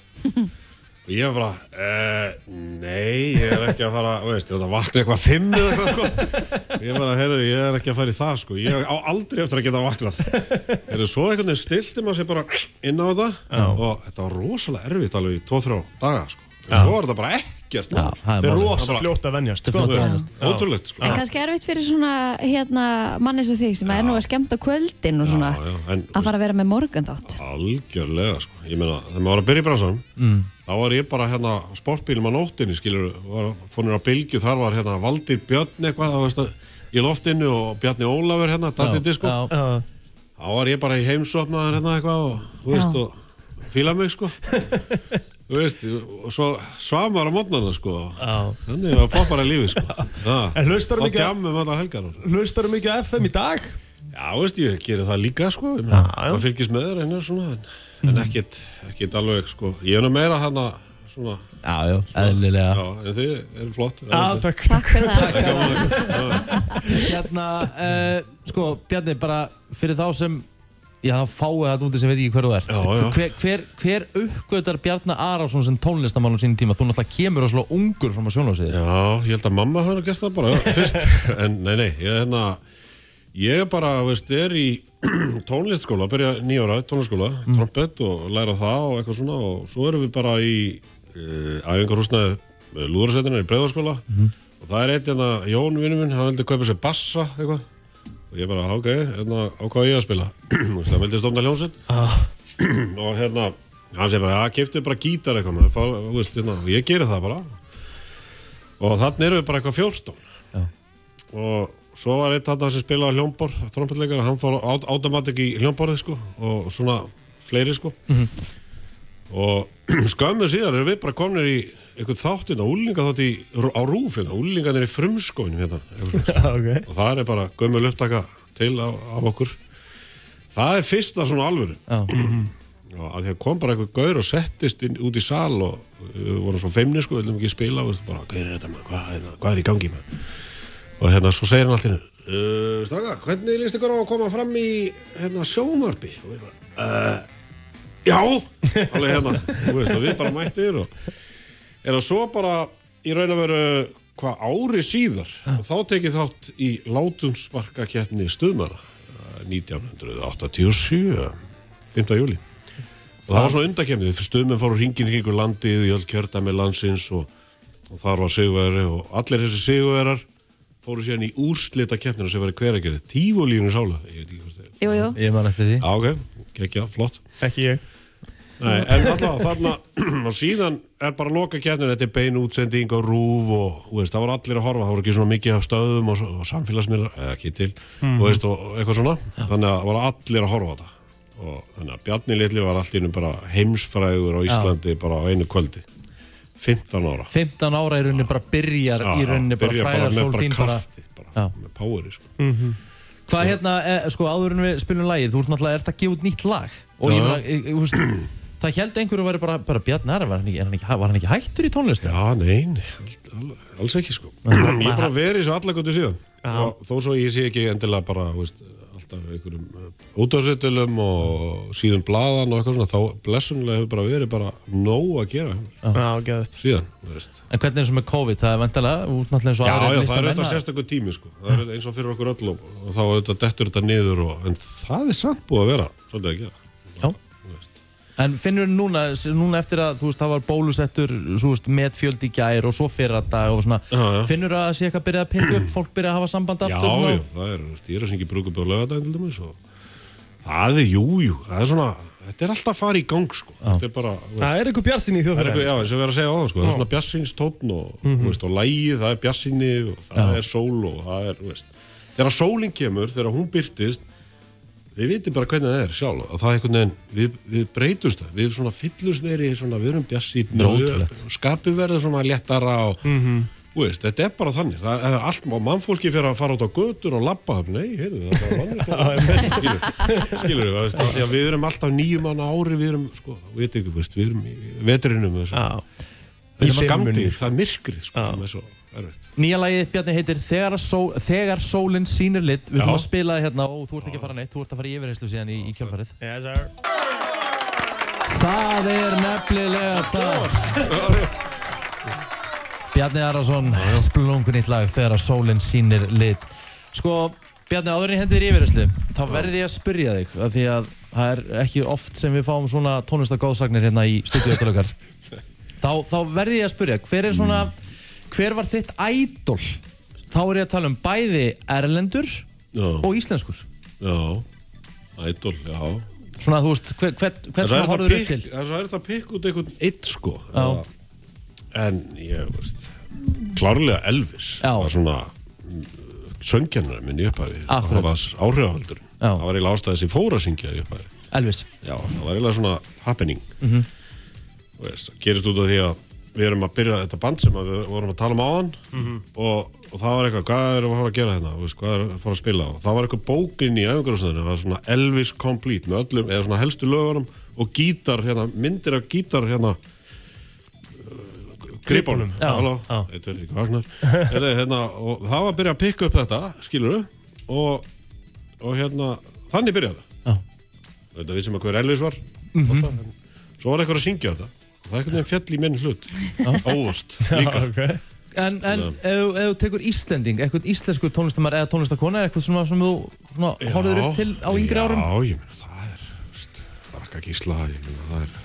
Og ég var bara, eh, nei, ég er ekki að fara, þú veist, þetta vakna eitthvað fimm eða eitthvað, sko. Ég bara, heyrðu, ég er ekki að fara í það, sko. Ég á aldrei eftir að geta vaknað. Heyrðu, svo einhvern veginn stilti maður sér bara inn á þetta og þetta var rosalega erfitt alveg í tvo, þrjá daga, sko. En svo var þetta bara ekki ekkert
Já, það er
Þetta er
málið.
rosa
bara-
fljótt að venjast
Þetta er
sko.
fljótt að
venjast.
Ótrúlegt sko
Ah.
En kannski erfitt fyrir svona hérna, manni svo þig sem er nú að skemmta kvöldin og svona
Já, já, en
að fara að vera með morgun þátt
Algjörlega sko, ég meina, þegar maður var að byrja í bransanum
Mm.
þá var ég bara hérna á sportbílum á nóttinni, skilur, var fónir á bylgju þar var hérna Valdir Björn eitthvað þá veist að, í loftinu og Bjarni Ólafur hérna,
Já,
Datti Disko
já.
Já,
þá var ég bara í heimsopnaðar hérna eitthvað og, þú veist, og fíla mig sko þú veist, og svo svamar á mótnana sko
já.
þannig var poppar í lífi sko
En hlustar
og
mikið,
djammum allar helgar og-
hlustar mikið á FM í dag?
Já, veist, ég gerir það líka, sko ég meina,
já. Mhm.
maður fylgist með þér einu svona en, en ekkit, ekkit alveg, sko ég er nú meira hana, svona
Já, já, eðlilega
já, en þið eru flott
Já,
eðlislegt.
takk
Takk fyrir það
Hérna, uh, sko, Bjarni, bara fyrir þá sem Já, það fáið það úti sem veit ekki hver þú ert
Já, já.
Hver, hver, hver uppgötar Bjarni Arason sem tónlistamann á sínum tíma? Þú náttúrulega kemur rosalega ungur fram á sjónlásið
já, ég held að mamma hafa gert það bara já, fyrst, en nei, nei, ég er hérna ég er bara, veist, er í tónlistskóla, byrja nýjóra tónlistskóla, trompett og læra það og eitthvað svona og svo erum við bara í uh, æfingarhúsnaði lúðursetina í breyðarskóla og það er eitt hérna, Jón vinnu minn, hann vildi kaupa sér bassa eitthvað og ég bara, ok, hérna ákvað ég að spila Þú veist, það vildi stofna hljónsinn og hérna, hann segir bara, að kefti bara gítar eitthvað maður, fá- þú veist, hérna, og ég geri það bara og þannig erum við bara eitthvað 14 og svo var eitt þarna sem spilaði hljómbor trompetleikar, hann fór át- automatic í hljómborðið sko, og svona fleiri sko og skömmu síðar erum við bara komnir í einhvern þáttinn á úlinga þátt hérna, í á rúfina, úlingan er í frumskóinu hérna, eitthvað svona
Ah, Ok
og það er bara gömul upptaka til af, af okkur það er fyrsta svona alvöru
Já,
og að því að kom bara einhver gaur og settist inn, út í sal og uh, voru svo feimni sko, við viljum ekki spila og bara, hvað er þetta maður, hvað, hérna, hvað er í gangi maður og hérna, svo segir hann allir uh, stranga, hvernig líst ykkur á að koma fram í hérna, sjómarbi og við bara, uh, já alveg hérna, þú veist, og við bara mættir og er að svo bara í raun að veru hvað ári síðar og þá tekið þátt í látumsparkakeppni stuðmara eh, 1987 5. júli eh, og það var svona undakefnið, stuðmenn fóru hringin hringur landið í öll kjördæmi landsins og, og þar var sigurveri og allir þessi sigurverar fóru síðan í úrslita keppnina sem var í hveragerði tífólínu sála ég veit ekki hvort það er
Jú, jú,
ég man eftir því
Já, ok, gekkja, flott
Ekki ég
Nei, en allavega þarna og síðan er bara loka kjarnin þetta er bein útsending og rúf og þú veist, það voru allir að horfa, það voru ekki svona mikið af stöðum og, og samfélagsmiðlar, eða ekki til
Hmm.
og, veist, og eitthvað svona, þannig að það voru allir að horfa á þetta og þannig að Bjarni Lilli var allir bara heimsfrægur á Íslandi bara á einu kvöldi 15 ára
15 ára í rauninni bara byrjar í rauninni bara
byrja
fræðar
með
sól
bara
þín bara
krafti, bara
Já.
með poweri sko.
Mhm. Hvað hérna, e, sko áður en við spilum lagið Þú ert náttúrulega, ert að gefa út nýtt lag Og ég meina, e, e, þú veist Það held einhverju að vera bara, bara Bjarni Ara var hann, ekki, er hann ekki, var hann ekki hættur í tónlistu?
Já, nei, nei, all- all- alls ekki sko Ég er bara verið svo allakvöldu síðan og þó svo ég sé ekki endilega bara þú veist, alltaf einhverjum útafsettilum og síðan blaðan og eitthvað svona þá blessunlega hefur bara verið bara nóg að gera
Já, geðvægt
síðan þú veist.
En hvernig er eins og með COVID? Það er vantilega, út náttúrulega eins og
Já, já,
aðrir
það er
listamenn
auðvitað
að-
sérstakur tími sko það er auðvitað eins og fyrir okkur öll og, og þá auðvitað dettur þetta niður og, en það er samt búið að vera svolítið að gera
Já. En finnur núna, núna eftir að þú veist, það var bólusettur, þú veist, með fjöldi í gær og svo fyrir að dag og svona,
já.
finnur að það sé eitthvað byrjað að pikka upp, fólk byrjað að hafa samband
Já,
aftur svona?
já, það er, þú veist, ég er að syngja brúkup á laugardaginn til dæmis og það er, jú, jú, það er svona, þetta er alltaf að fara í gang, sko, þetta er bara, þú veist,
Það er einhver bjarsin í
það er eitthvað, já, eins og
þjóðfæri
við erum að segja á það, sko, það er svona bjassinstófn og, þú veist, og lægið, það er bjassinni og það er sól og það er, þú veist, þegar sólinn kemur, þegar hún byrtist, við vitum bara hvernig það er sjálf að það er einhvern veginn, við, við breytumst það við svona fyllumst meiri, svona, við erum
Þetta er
bjassít
ótrúlegt.
skapið verður svona léttara og, þú veist, þetta er bara þannig það, það er allt, og mannfólki fyrir að fara út á götur og labba, nei, heyrðu, það er bara vanlegt skilur, skilur við, veist, að, já, við erum alltaf nýjum manna ári við erum, sko, við veit ekki, veist, við erum í vetrinum, þess að
Já
skamdið, það er myrkrið, sko,
Já.
sem er svo erfitt.
Nýja lagið Bjarni heitir Þegar, að sól, Þegar sólinn sýnir lit Við ætlum
Já.
að spila það hérna og þú ert ekki að fara neitt Þú ert að fara í yfirheyslu síðan í, í kjálfarið
Yes, sir
Það er nefnilega það Bjarni Arason Splungun eitt lag Þegar að sólinn sýnir lit Sko Bjarni áður en ég hendur í yfirheyslu Þá verði ég að spyrja þig af Því að það er ekki oft sem við fáum svona tónlistagóðsagnir hérna í stúdíu öllökar þá, þá verði ég að spyrja, hver er svona hver var þitt ædol þá er ég að tala um bæði erlendur
Já.
og íslenskur
Já, ædol, já
svona þú veist, hver, hver, hvern
Það er
svona
það að
horfður upp til
pikk- það er svo erfitt að pikka út einhvern eitt sko
Já.
En ég veist Klárlega Elvis
Já.
var svona söngjarnar minn í upphæfi Það
Akkurat.
var áhrifavöldur
Já.
Það var eiginlega ástæðis ég fór að syngja í upphæfi
Elvis,
Já, það var eiginlega svona happening mm
Mhm.
-hmm. veist, það gerist út af því að við erum að byrja þetta band sem að við vorum að tala um áðan og, og það var eitthvað, hvað erum við að fara að gera hérna veist, hvað erum við að fara að spila og það var eitthvað bókin í æfingarhúsnaðinu, það var svona Elvis Complete með öllum, eða svona helstu lögunum og gítar, hérna, myndir af gítar hérna uh, gripunum,
Já,
halló,
já.
eitt verður ekki vagnar Heyrðu, hérna, og það var að byrja að pikka upp þetta, skilur og, og hérna, þannig byrjaði það
já,
þetta við sem að hver Elvis var alltaf,
Mhm.
en svo var eitthvað að syngja þetta og það er einhvern veginn fjall í minn hlut óvart líka
okay.
en, en ef, ef þú tekur Íslending eitthvað íslensku tónlistamar eða tónlistakona eitthvað svona sem þú svona horfður upp til á yngri árum
já, ég meina það er veist, Raka Gísla ég meina það er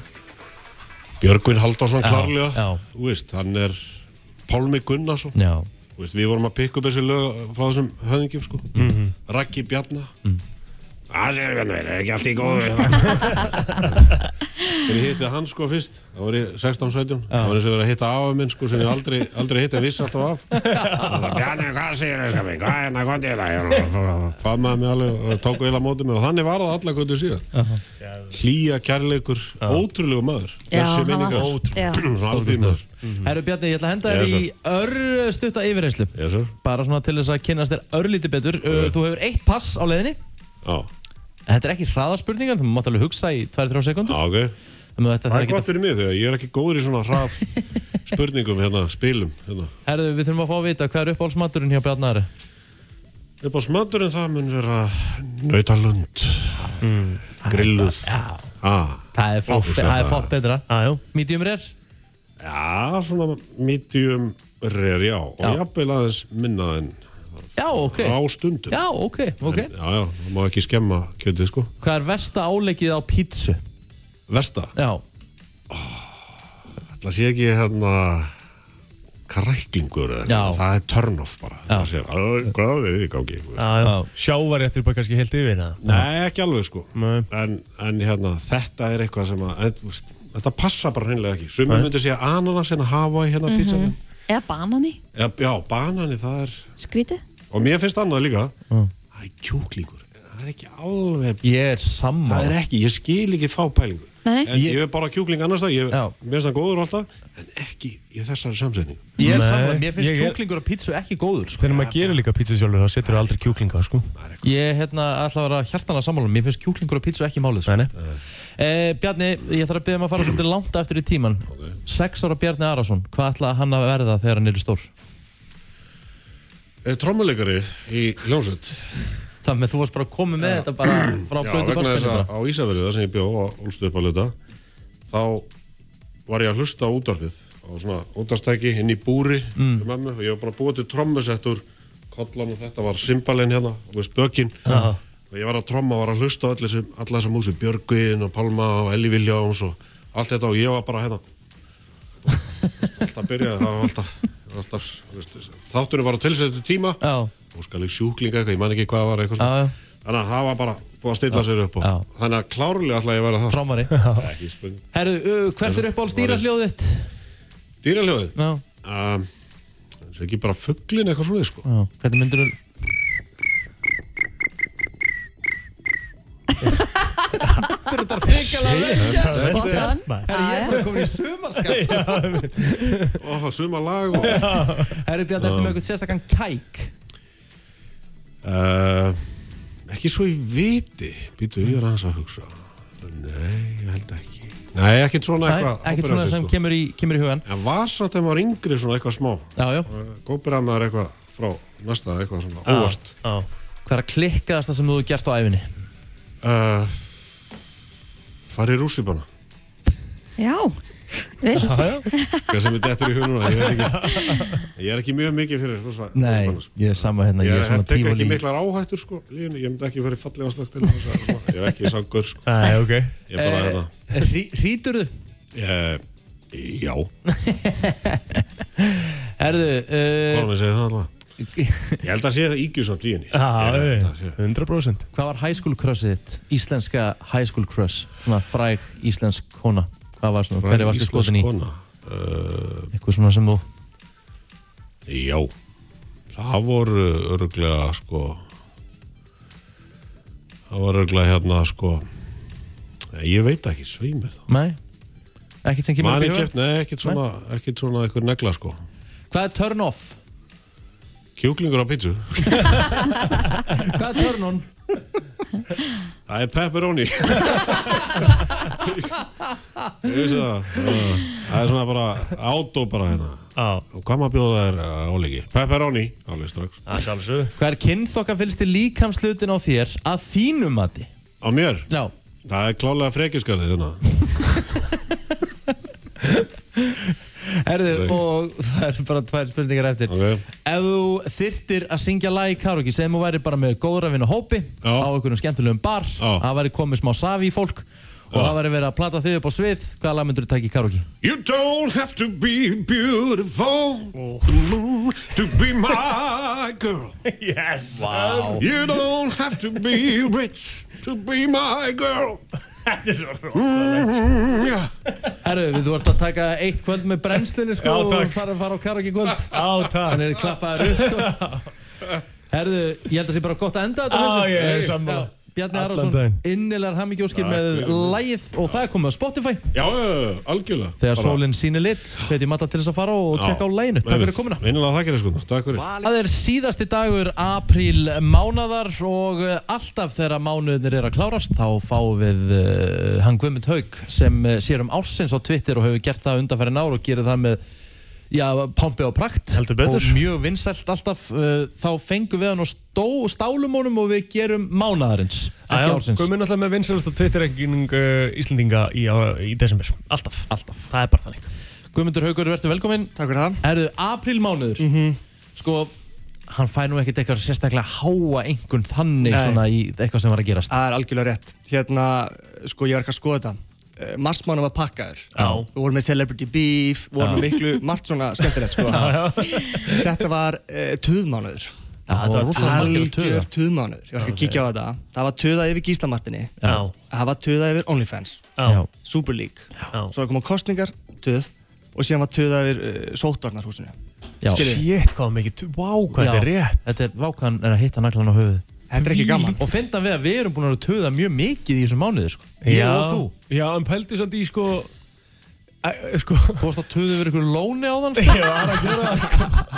Björgvin Haldásson
Já,
klárlega
já.
þú veist, hann er Pálmi Gunnarsson
já,
Þú veist, við vorum að pikka upp þessi lög frá þessum höfðingjum sko
Mhm.
Raggi Bjarna Það séu hvernig verið, er ekki allt í góðu Þegar ég hitti hann sko fyrst þá var ég 16-17 þá var eins og verið að hitta afa minn sko sem ég aldrei, aldrei hitti en vissi alltaf af Og það, Bjarni, hvað segir þau skapin, hvað er það gott í það Famaði mig alveg og tók vel á móti mér og þannig var það alla göndu síðan Hlýja, kærleikur, ótrúlegu maður
Já,
Þessi
hann var-
minningar
já.
Svona alþýðmaður.
Herru Bjarni, ég ætla að henda
Yes,
þér í örstutta yfirreyslu
Yes, sir.
bara svona til þess að kynast þér örlítið betur Uh, þú hefur eitt pass á leiðinni
Já,
En Þetta er ekki hraðarspurningar, þú mátt alveg hugsa í 2-3
já,
sekundur
ok
Þannig að þetta
Það
þarf
er
ekki
gott
að...
fyrir mig þegar ég er ekki góður í svona hraf spurningum hérna, spilum hérna.
Herðu, við þurfum að fá að vita hvað er uppáhaldsmaturinn hjá Bjarnar
Upp á smadurinn það mun vera nautalund grilluð ah,
Mm. Það er fátt,
Ógeðslega.
það er fátt betra
ah, jú.
Medium rare
Já, svona medium rare, já og
Já.
jafnvel aðeins minna en
Já, ok
á stundum
Já, ok, ok
Já, já, það má ekki skemma kjötið sko
Hvað er versta áleikið á pítsu?
Vesta,
Já,
ætla sé ekki hérna kræklingur eða
Já.
eitthvað, það er turn off bara
Já.
Það sé, "Æ, Hvað er í gangi? þú veist.
Já, já.
Já.
Sjávarréttur bara kannski heilt yfir hérna. það
Nei, ekki alveg sko
Nei.
en, en hérna, þetta er eitthvað sem að en, þú veist, Þetta passa bara hreinlega ekki Sumir myndir segja ananas en að hafa
Mhm.
í hérna pizza
Eða banani,
já, já, banani það er
skrítið
Og mér finnst annað líka Það er kjúklingur Það er ekki alveg
ég er
Það
sammála
er ekki, ég skil ekki þá pælingu
Nei, nei.
En ég, er bara kjúkling annars það Ég
Já.
mér finnst það góður alltaf En ekki í þessari samsetning
Ég er
Nei,
sammála, mér finnst
ég er-
kjúklingur á pítsu ekki góður sko.
Þegar maður gerir líka pítsu sjálfur þá setur þú aldrei kjúklinga sko.
Ég hérna, ætla að vera hjartanlega sammála Mér finnst kjúklingur á pítsu ekki málið sko.
Nei, nei.
eh, Bjarni, ég þarf að byrja maður að fara svolítið langt eftir í tíman Sex ára Bjarni Arason, hvað ætla hann að verða þegar hann er stór?
Eh, Trommuleikari í hljónsveit
Það með þú varst bara að koma með þetta bara frá
Já,
blötu
vegna þess
barnspenni
að
bara.
á Ísafjörðu þar sem ég bjó og úlstu upp að luta þá var ég að hlusta á útvarfið á svona útvarstæki inn í búri mm. mömmu, og ég var bara búið til trommusett úr kollan og þetta var symbalinn hérna og spökin
Já.
og ég var að tromma og var að hlusta á öll þessu, alla þessa músi Björgvin og Palma og Elli Viljáms og allt þetta og ég var bara hérna alltaf byrjaði það var alltaf, alltaf þú veist, þátturinn var á tilsettu tíma
Já,
og skal ég sjúklinga eitthvað, ég man ekki hvað var eitthvað
Já, já.
svona. þannig að það var bara búið að stilla sér upp og
Já.
þannig að klárlega ætla ég að vera það
trómari
ekki spurning.
Herru, uh, hvert er uppáhalds dýrahljóðið þitt?
Dýraljóðið
Já,
um, það er ekki bara fugglin eitthvað svona sko.
já, hvernig myndur þú Myndur þetta reikala lengi
Spottan
Herru, ég er bara komin í sumarskap
og það suma lag og uh,
Herru, Bjarni, ertu með eitthvað sérstakann kæk?
Eh, ekki svo ég viti býtu ég er aðeins að hugsa nei, ég held ekki nei, ekkert svona
Nei,
eitthvað
ekkert svona
áberandi,
sem
sko.
kemur í, kemur í hugan
en var samt þegar maður yngri svona eitthvað smá
Já, já,
gópir að maður eitthvað frá næsta eitthvað svona
Já,
óvart
já.
hvað er að klikkaðast það sem þú hefur gert á æfinni?
uh, farið rússibana
Já, vilt
hvað sem er dettur í huguna ég, veit ekki, ég er ekki mjög mikið fyrir svo, svo-
Nei,
svona, sko.
ég er sama hérna,
ég,
ég er
ég
svona
tek
tíf
ekki miklar áhættur sko, lífinu, ég myndi ekki farið fallega slögt ég er ekki sangur sko.
Æ,
Eh,
ok
ég er bara
Ríturðu?
hérna Já,
Herðu, uh,
vorum við að segja það alltaf Ég held að sé það ígjusamt í henni Ég
Já,
held
já,
að sé það.
100%
hvað var high school crushið þitt? Íslenska high school crush, svona fræg íslensk kona. Hvað var svona, hverju varstu
Íslensk
skotin í?
kona. Uh,
Eitthvað svona sem þú...
Eh, Já Það voru örglega sko Það voru örglega hérna sko Ég veit ekki, svýmur það
Nei? Ekkert sem kemur
Man
upp í
ekki
huga?
eftir, nei, ekkert svona, ekkert svona einhver negla sko
Hvað er turn off?
Kjúklingur á pítsu
Hvað er turn on?
Það er pepperoni sko. Ég vissi það uh, Það er svona bara átó bara hérna
Já,
Og hvað maður bjóða þær uh, áleiki? Pepperoni, alveg strax
það er sjálfsög
Hvað er kynþokka fylgst í líkamslutin á þér að þínu mati?
Á mér,
Já.
það er klálega frekjuskalið hérna
Herðu, og það eru bara tvær spurningar eftir.
Ok.
Ef þú þyrtir að syngja lag í karaoke sem þú væri bara með góðra vinn og hópi
Já.
á einhverjum skemmtilegum bar,
Já.
það væri komið smá safi í fólk og það væri verið að plata þig upp á svið, hvaða lag myndur þú taka í karaoke?
You don't have to be beautiful to be my girl.
Oh. Yes
You don't have to be rich to be my girl.
Þetta er svo rosalegt
Mm, yeah.
Herru, við þú ert að taka eitt kvöld með brennslunni sko
Já, takk.
og fara, fara á karaoke kvöld.
Á, takk
Þannig er klappaður upp sko. Herru, ég held að sé bara gott að enda
Á,
þetta með þessu.
ég er
Já,
sammála
Bjarni
Allan
Arason,
daginn.
innilegar hammingjóskir með lægið og það er komið á Spotify
Já, já, algjörlega.
þegar sólinn sínir lit, hvetjum alla til þess að fara og tjekka á læginu, takk fyrir komuna
Minnilega þakkir þér sko, takk fyrir.
Það er síðasti dagur apríl mánadar og eh, alltaf þegar mánuðnir er að klárast þá fáum við uh, hann Guðmund Haug sem uh, sér um ársins á Twitter og hefur gert það undanferðin ár og gerir það með já, pompi og prakt
Heldur betur.
og mjög vinsælt alltaf uh, þá fengum við hann og stó, stálum honum og við gerum mánadarins ekki ársins
Guðmund alltaf með vinsælasta Twitter-regning uh, Íslendinga í, á, í desember Alltaf
alltaf.
Það er bara þannig
Guðmundur Haugur, verður velkominn
Takk fyrir það. Mhm.
Erðu, aprílmánuður Sko, hann fær nú ekkert eitthvað sérstaklega háa einhvern þannig
Nei.
svona í eitthvað sem var að gerast
Það er algjörlega rétt. Hérna, sko, ég var ekki að skoða þetta. Eh, Marsmánu var pakkaður.
Já.
Við vorum með Celebrity Beef, við vorum með miklu margt svona skemmtilegt, sko. Þetta var uh, tuðmánuður.
Já, það var rosalega margir að tuða.
Algjör tuðmánuður. Ég var ekki að kíkja á þetta. Það var tuða yfir Gíslamartinni.
Já
Það var tuða yfir OnlyFans.
Já,
Já
Super League.
Já.
Svo var koma kostningar, tuð. Og síðan var tuða yfir uh, sóttvarnarhúsinu.
já,
Skilurðu?
Shit, hvað mikið Vá, hvað
já.
þetta er rétt
Þetta er vákan er að hitta naglan á höfuð
Þetta er ekki gaman.
Og finna við að við erum búin að vera að tuða mjög mikið í þessum mánuði sko. Ég
Já,
og þú
Já, en pældu samt í sko Æ, Sko
Þú varst að tuða yfir ykkur lóni á þann sko.
Ég var að gera það sko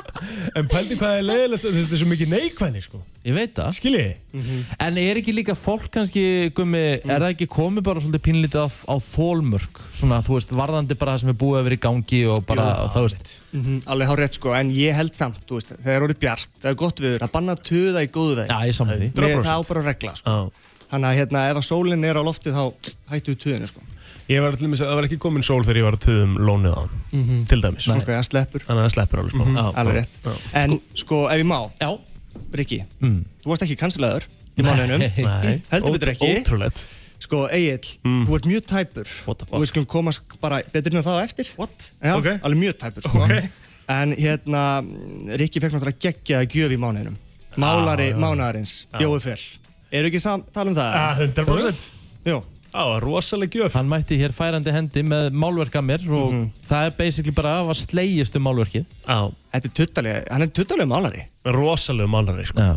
En pældu hvað er leiðilegt Þetta er svo mikið neikvæðni sko
Ég veit það Mhm.
Skiljiði?
En er ekki líka fólk kannski gummi, Er það ekki komið bara svolítið pínlítið á, á þólmörk Svona þú veist varðandi bara það sem er búið að vera í gangi Og bara þá veist
Mm alveg hár rétt, sko. En ég held samt, þú veist, þegar orðið bjart, það er gott viður, að banna tuða í góðu vegi.
Já ég saman því
Nei, það á bara regla sko.
Já
Þannig að hérna, ef að sólinn er á loftið þá hættu við tuðinu sko.
Ég var allir með að það var ekki komin sól þegar ég var að töðum lónið á hann Til dæmis
Mhm. Ok, það sleppur,
Þannig að það sleppur
Sko,
alveg sko. smá
Mhm, alveg rétt En sko, ef ég má,
Já
Rikki
Mm.
Þú varst ekki kanslaður í mánuðinum
Nei.
Heldur betur ekki.
Ótrú- Ótrúlegt Mm.
Sko, Egil, þú ert mjög tæpur
What the fuck?
Og við skulum komast bara betur inn á það á eftir
What?
Já,
Ok.
alveg mjög tæpur sko.
Ok.
En hérna, Rikki fekk náttúrulega geggja að gjöf í mánuðinum Málari mánuðarins, Jói Föll Eru ekki samt tala um það?
Ah, 100%
Jó,
Á, rosaleg gjöf
Hann mætti hér færandi hendi með málverk að mér og
Mhm.
það er basically bara að var slegist um málverkið.
Á,
þetta er tuttalega, hann er tuttalega málari
rosaleg málari sko.
Já.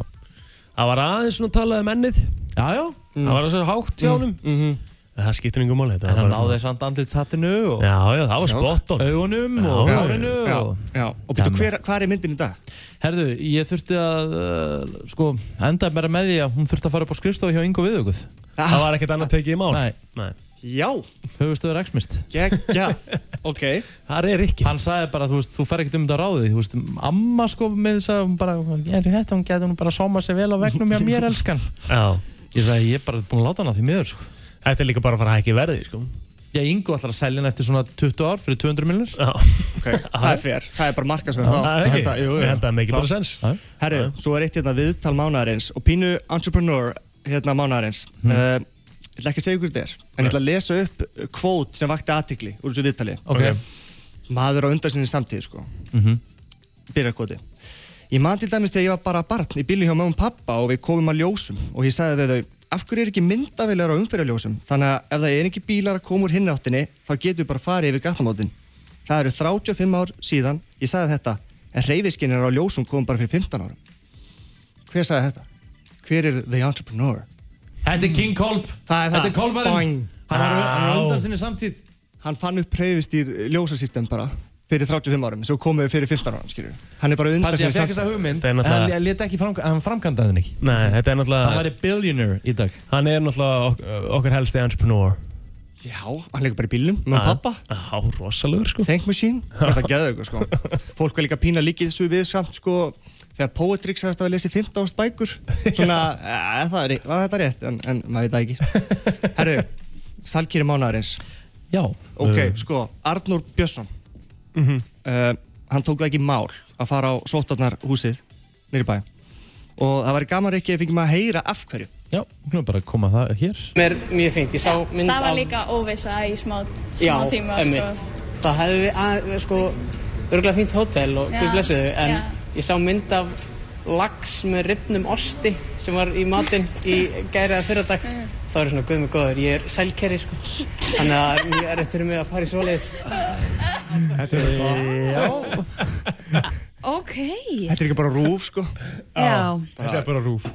Það var aðeins svona talað um ennið
Já, já.
Mm.
Það var aðeins hátt hjá honum
mhm.
En Það skiptir yngur máli þetta var
En hann
um bara-
náði samt andlitshattinu og
Já, já, það var spott on
augunum og
Já.
hárinu
Já,
og...
já, og betur hver, hver er myndin í dag?
Herðu, ég þurfti að, uh, sko, enda bara með því að hún þurfti að fara upp á skrifstofu hjá Ingo Viðuguð.
Ah.
Það var ekkert annað tekið í mál
Nei.
Nei.
Já,
Höfustöður X-mist.
geggja, ok
Það er ekki
Hann sagði bara, þú veist, þú fer ekkert um þetta ráðið, þú veist, amma sko með þess að hún bara, ég er þetta, hún getur hún bara sóma sér vel á vegnum hjá mér, elskan.
Já.
Ég sagði, ég er bara búin að láta hana því miður, sko.
Þetta er líka bara að fara að hækki verði sko.
Ég Ingo ætlar að selja henni eftir svona 20 ár fyrir 200 millir.
Já.
okay. Það er fér, það er bara markasverð þá
Það er ekki
Ég held að- jú, jú.
Ég held að það make bara sens
Já.
Herru, svo er eitt hérna viðtal mánaðarins og pínu entrepreneur hérna mánaðarins
Hmm.
uh, Ég ætla ekki að segja ykkur þetta er en ég ætla að lesa upp kvót sem vakti aðtikli úr þessu viðtali
Ok.
Ok.
maður á undan sinni samtíð sko
Mhm.
byrjarkoti ég man til dæmis þegar ég var bara barn í bíli hjá mögum pappa og við komum að ljósum og ég sagði við þau af hverju er ekki myndavilegar á umfyrirljósum þannig að ef það er ekki bílar að koma úr hinni áttinni þá getum við bara farið yfir gattamótin það eru 35 ár síðan ég sagði þetta en reyfiskinnir á ljósum komum bara fyrir 15 árum hver sagði þetta? hver er the entrepreneur?
Þetta er King Kolb
Það er það.
Þetta er Kolbarinn
Boing.
Hann var hann var
Á.
undan sinni samtíð
hann fann upp reyfistýr ljósasystem bara fyrir 35 árum, svo komum við fyrir 15 árum skilur. hann er bara undan
Paldi,
sinni
hann fekk þessa
samtíð
hugmynd
Það er
En
náttúrulega-
hann leta ekki framkvæmda Hann framkvæmdaði henni ekki
Nei, þetta er
Hann
náttúrulega,
væri billionaire í dag
hann er náttúrulega ok okkar helsti entrepreneur.
já, hann leikur bara í bílnum með
Já.
pappa
Já, rosalegur sko.
Think Machine, þetta geðu ykkur sko fólk var líka pína líkið þessu við samt sko þegar Poetrix sagðist að við lesið 15 ást bækur svona, e, það er, var þetta rétt en, en maður veit það ekki herru, salkýri mánaðarins
Já
ok,
Uh,
sko, Arnur Björnsson
Mhm.
uh, hann tók það ekki í mál að fara á sótarnar húsið nýri bæ og það væri gaman ekki að fengið maður að heyra af hverju
Já, hún er bara að koma það hér
mér mjög fengt, ég sá mynd
Það var
af-
líka óvisa í smá,
já,
smá tíma
einmitt.
sko.
það hefði við að, sko, örgulega fínt hótel og
Já,
guð blessi þau, en
já.
ég sá mynd af lax með ripnum osti sem var í matinn í gæriða fyrradag þá er ég svona guð með góður, ég er sælkerri sko. þannig að það er mjög erfitt fyrir mig að fara í svoleiðis
Ok,
þetta er ekki bara rúf sko
já
Þetta er bara rúf.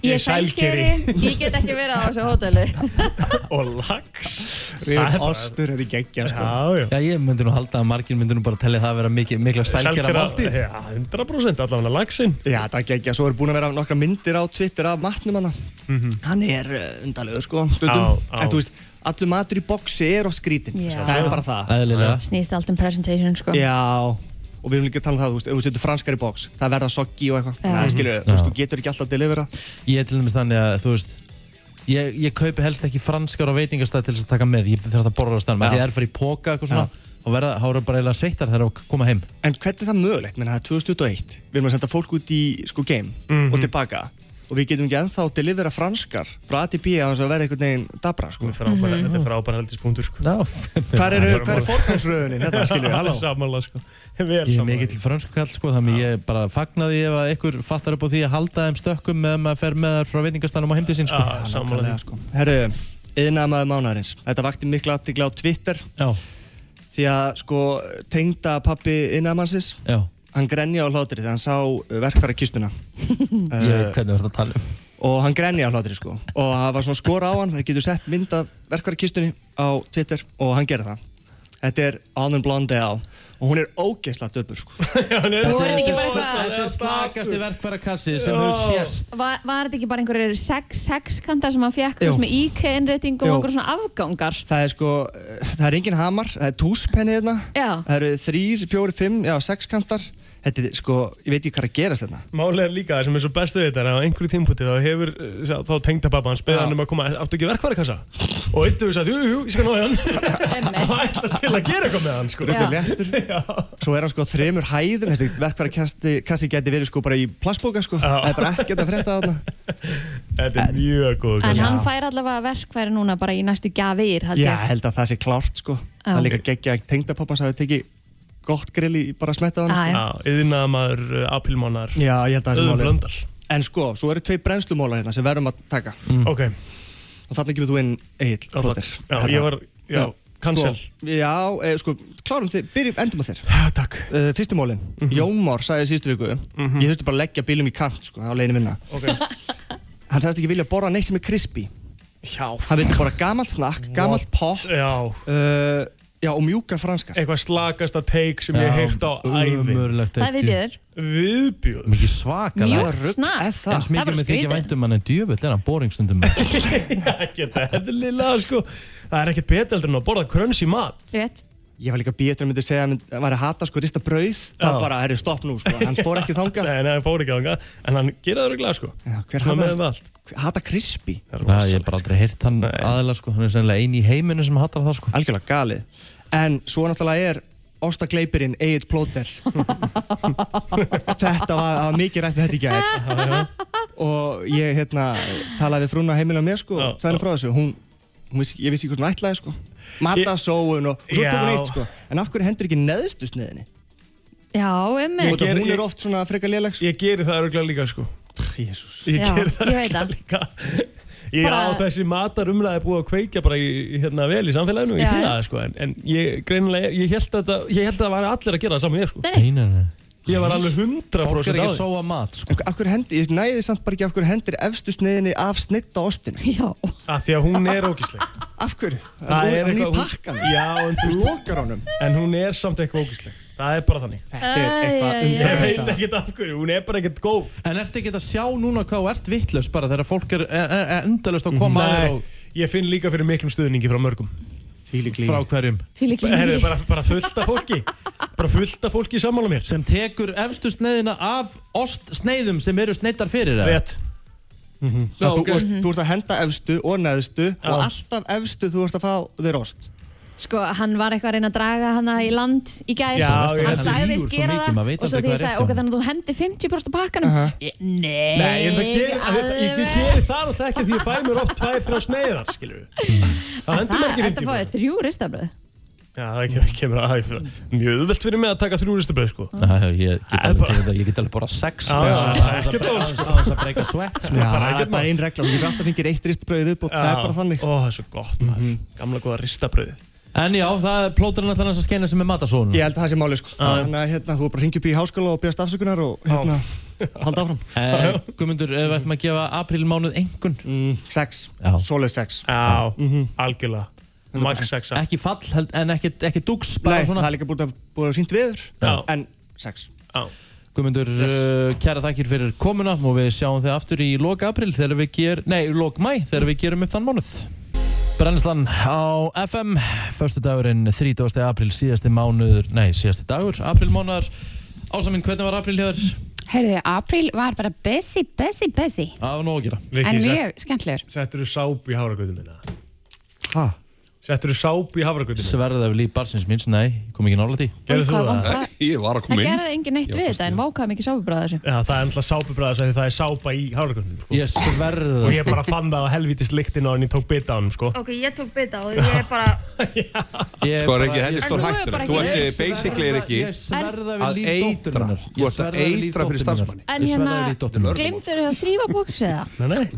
Ég
er
er sælkeri, ég get ekki verið á þessu hótelu
Og lax.
reyður ostur, þetta er geggja sko
Já, já.
Já, ég myndi nú halda að margir myndi nú bara tellið það að vera mikið, mikla sælkjara máltíð
Já, 100% allavega laxinn.
Já, það er geggja, svo er búin að vera nokkra myndir á Twitter af matnum hana
Mhm.
Hann er uh, undalegur sko, stundum
Á, á.
En þú veist, allur matur í boksi er of skrítin
Já.
Það er bara það
Æðlilega
Snýst allt um presentation sko
Já, og við erum líka að tala um það, þú veist, ef þú setur franskar í boks Það verða soggi og eitthvað Það skilur, þú veist, þú getur ekki alltaf að delivera
Ég er til dæmis þannig að, þú veist Ég, ég kaupi helst ekki franskar á veitingastæð til þess að taka með Ég þarf það að borra á staðnum af Því að það er fyrir í póka eitthvað svona Og verða, þá eru bara eiginlega sveittar þegar það koma heim
En hvernig er það mögulegt? Menna, það er 2021, við erum að senda fólk út í sko game
Mhm.
og tilbaka og við getum ekki ennþá að delivera franskar frá ATP að þess að verða einhvern veginn dabra sko.
Frábæra- Þetta er frábæra heldispunktur sko.
Já,
Hvar eru, hvar er forgangsröðunin? hérna? Þetta skilur, halló.
Samanlega sko. Vel
Ég er
sammála.
mikill frönsku kall sko, þannig ég bara fagnaði ef að ykkur fattar upp á því að halda þeim stökkum meðan maður fer með þær frá veitingastanum á heimdið sín sko.
Já, sammála því.
Sko. Herru, yðnaðamaður mánarins. Þetta vakti mikla aðtikla á Twitter
Já,
því að sko tengda pappi yðnaðamannsins,
já,
hann grenja á hlátri þegar hann sá verkfæra kistuna
ég veit hvernig varst að tala um.
og hann grenja á hlátri sko og það var svona skora á hann, það getur sett mynd af verkfæra kistunni á Twitter og hann gerði það. Þetta er On and Blonde á og hún er ógeðsla döpur sko.
Voru þetta ekki bara eitthvað
Þetta er slakasti verkfæra kassi sem hefur sést.
Var, var þetta ekki bara einhverjir sex, sexkantar sem hann fekk
Jú.
þess með IK-innreiting og
Jú.
einhver svona afgangar
Það er sko, eh, það er engin hamar, það er túspenni hérna,
Já.
það eru þrýr, fjóri, fimm, já, sex kantar. Þetta er sko, ég veit ekki hvað er að gerast hérna. þarna.
Málið er líka það sem er svo bestu við þetta er að á einhverju tímpúti þá hefur uh, sá- þá tengda pappa hans beðan
Já.
um að koma áttu ekki verkvarikassa og eittu við sagt, jú, jú, ég skal ná í hann og
Einmitt.
ætlast til að gera eitthvað með hann sko.
Þetta er léttur. Svo er hann sko á þremur hæðum, þessi verkfæra kassi geti verið sko bara í plastbóka sko.
Já.
Það er bara ekkert að frétta þarna.
Þetta er mjög góð
En
kassa.
hann fær allavega verkfæri núna bara í næstu gjafir held
Já,
ég
held að það sé klárt sko.
Já.
Það er líka geggja að tengdapappans hafi tekið gott grill í bara að smetta þarna.
Já,
sko.
já.
Já, yðnaða maður uh, aprílmánar
Já, ég held að það sé
Öðum
málið.
blöndal
En sko, svo eru tvei brennslumólar hérna sem verðum að taka.
Ok,
Og þarna kemur þú inn, Egil, Plóter.
Mm. já, ég var, já, cancel
Sko, já, e, sko, klárum þið, byrjum, endum að þér.
Já, takk Mhm.
Uh, fyrsti mólin, mm -hmm. Jómár sagði síðustu viku Ég þurfti bara að leggja bílum í kant sko, á leiðinu minna
Ok.
Hann sagðist ekki vilja borra neitt sem er krispi
Já,
Hann vildi borra gamalt snakk, gamalt pop
já,
uh, Já, og mjúkar franskar
eitthvað slagasta take sem ég heilt á ævi
Umurlegt
Það veit ég þér
Viðbjöð
Mikið svakalega.
Mjög
rugl er
snart
það?
En
Það
smikið
var
með þykja
skrítið.
væntum um hann en djöfull er hann boringstundum.
Ekkert eðlilega sko Það er ekkert beteldur en að borða kröns í mat
Rétt
Ég var líka býð eftir að hann myndi segja að mynd- hann væri að hata sko rista brauð
Já.
Það bara, herri, stopp nú sko, hann fór ekki þanga
Nei, nei, hann fór ekki ánga, en hann gera það röglega sko.
Já, hver
Hann var með
hatar,
um allt.
hata krispi?
Það er
Já, ég hef
rosalegt.
bara aldrei heyrt hann aðila sko. Hann er sennilega eini í heiminu sem hattar það sko.
Algjörlega galið En svo náttúrulega er Óstakleipirinn Egil Plóter Þetta var, það var mikið rætt við þetta í gær og ég hérna talaði við frúna heiminn á mér sko,
Já,
sagði henni frá þessu hún, hún vissi, ég vissi ekki hvort hún ætlaði sko matasóun og, og svo
Já.
tökum við eitt sko en af hverju hendur ekki neðstu sniðinni
Já,
og
emmi
Ég-
það
ger-
hún er oft svona frekar léleg sko.
Ég geri það örgulega líka sko
Jésús
Ég
Já,
geri það
ég veit
örugglega
það.
líka Ég
Bara-
á þessi matar umræði búið að kveikja bara í, í, hérna, vel í samfélaginu Ég
Já,
finna
já.
það sko En, en ég greinilega, ég held að þetta- ég held að það var allir að gera það saman ég sko
Nei, nei, nei.
Ég var alveg 100%
Fólk er
á
ekki að
því.
sóa mat, sko.
af hverju hendur, ég næði samt bara ekki af hverju hendur efstu sniðinni af snitta ostinu
Já,
Af því að hún er ógísleg
af hverju, það er hún í pakkan
Já, en þú veist
lokar honum
En hún er samt eitthvað ógísleg Það er bara þannig
þetta
Æ,
er
æ,
eitthvað
æ.
Ég veit
undarlegasta
ekkert af hverju, hún er bara ekkert góð
En ertu ekki að sjá núna hvað þú ert vittlust bara þegar fólk er er- er- er endalaust að koma að þér
Nei,
og
ég finn líka fyrir miklum stuðningi frá mörgum
frá hverjum
því líka
Herðu, bara, bara fullt af fólki Bara fullt af fólki í sammála mér
sem tekur efstu sneiðina af ostsneiðum sem eru sneiðar fyrir það.
Rétt
Það þú,
ok.
okay. þú ert að henda efstu og neðstu
Já.
og alltaf efstu þú ert að fá þér ost
Sko, hann var eitthvað að reyna að draga hana í land í gær
Já,
Hann
já, hann
lýgur
sagðist
svo
gera
mikið, maður
það
veit
Og svo
aldrei
því ég
hvað er rétt
sagði, ok,
hjá honum.
þannig að þú hendi 50% af pakkanum Ég- Nei,
Nei, en það gerir,
alveg.
að, ég, ég gerir það alltaf ekki því ég fæ mér oft tvær, þrjá sneiðar, skilur við. Það hendur
Það
mér
er þetta
ekki
að
50
fáið þrjú ristabröð
Já, það kemur, kemur að það mjög auðvelt fyrir mig að taka þrjú ristabröð, sko.
Nei, ég get
Það er
alveg
bara-
til þetta, ég get alveg bara sex
Já,
með
já,
aðeins-
já, ekkert mál,
aðeins að, að, að breyka svett sko.
Já,
bara
það
ekkert
er bara
mál.
einn regla þú ert alltaf fengir eitt ristbröðið upp og það er bara þannig Mhm.
Ó, það er svo gott, maður. Gamla góða ristabröðið.
En já, það er plóturinn allan þess að skeina sem er matasónum
Ég held að það sé máli sko Þannig að hérna, þú bara ringi upp í háskóla og beðast afsökunar og hérna, halda áfram
eh, Guðmundur, ef við ættum að gefa aprílmánuð engun
mm, Sex,
Já.
solid sex Mhm.
Já, algjörlega. Max sexa.
Ekki fall, held, en ekki, ekki dugs bara
Nei,
svona
það er líka búið að búið að sínt viður
Já.
En sex
Já.
Guðmundur, uh, kæra þakkir fyrir komuna og við sjáum þig aftur í lok april þegar við ger, nei, lok mæ, þegar við gerum upp þann mánuð. Brennslan á FM, förstu dagurinn 30. april, síðasti mánuður, nei, síðasti dagur, aprilmánar. Ásaminn, hvernig var april hér?
Heyrðu, apríl var bara busy, busy, busy.
Það var nóg að gera.
En
Rikki,
mjög skemmtilegur.
settur þú sáp í hafragröðinu minna?
Hæ?
Settur þú sáp í hafragröðinu?
Sverðað við líf barsins minns, nei, ég kom ekki nála því.
Gerðu þú það?
það?
Ég var að
Það
koma inn
gerði engin neitt við þetta en vákaði mikið sáfubröð þessu
Já, það er alltaf sápubræðis því það er sápa í hafragröðinu, sko.
Ég sverða
Og ég bara fann það á helvítist lyktin á hann ég tók bita á hann, sko.
Ok, ég tók bita og ég er bara
Ég
Sko
bara-
Rikki, þetta
ég-
er stór
bara
hættur
ekki-
Þú
Ég
ert eh,
sverða-
basically Rikki
Ég sverða við
að
líf dóttur
eitra.
minnar.
Þú ert að eitra fyrir starfsmanni.
En
Ég sverða
hérna-
við líf dóttur minnar.
Glimtur það þrýfa bóks eða?
Nei, nei.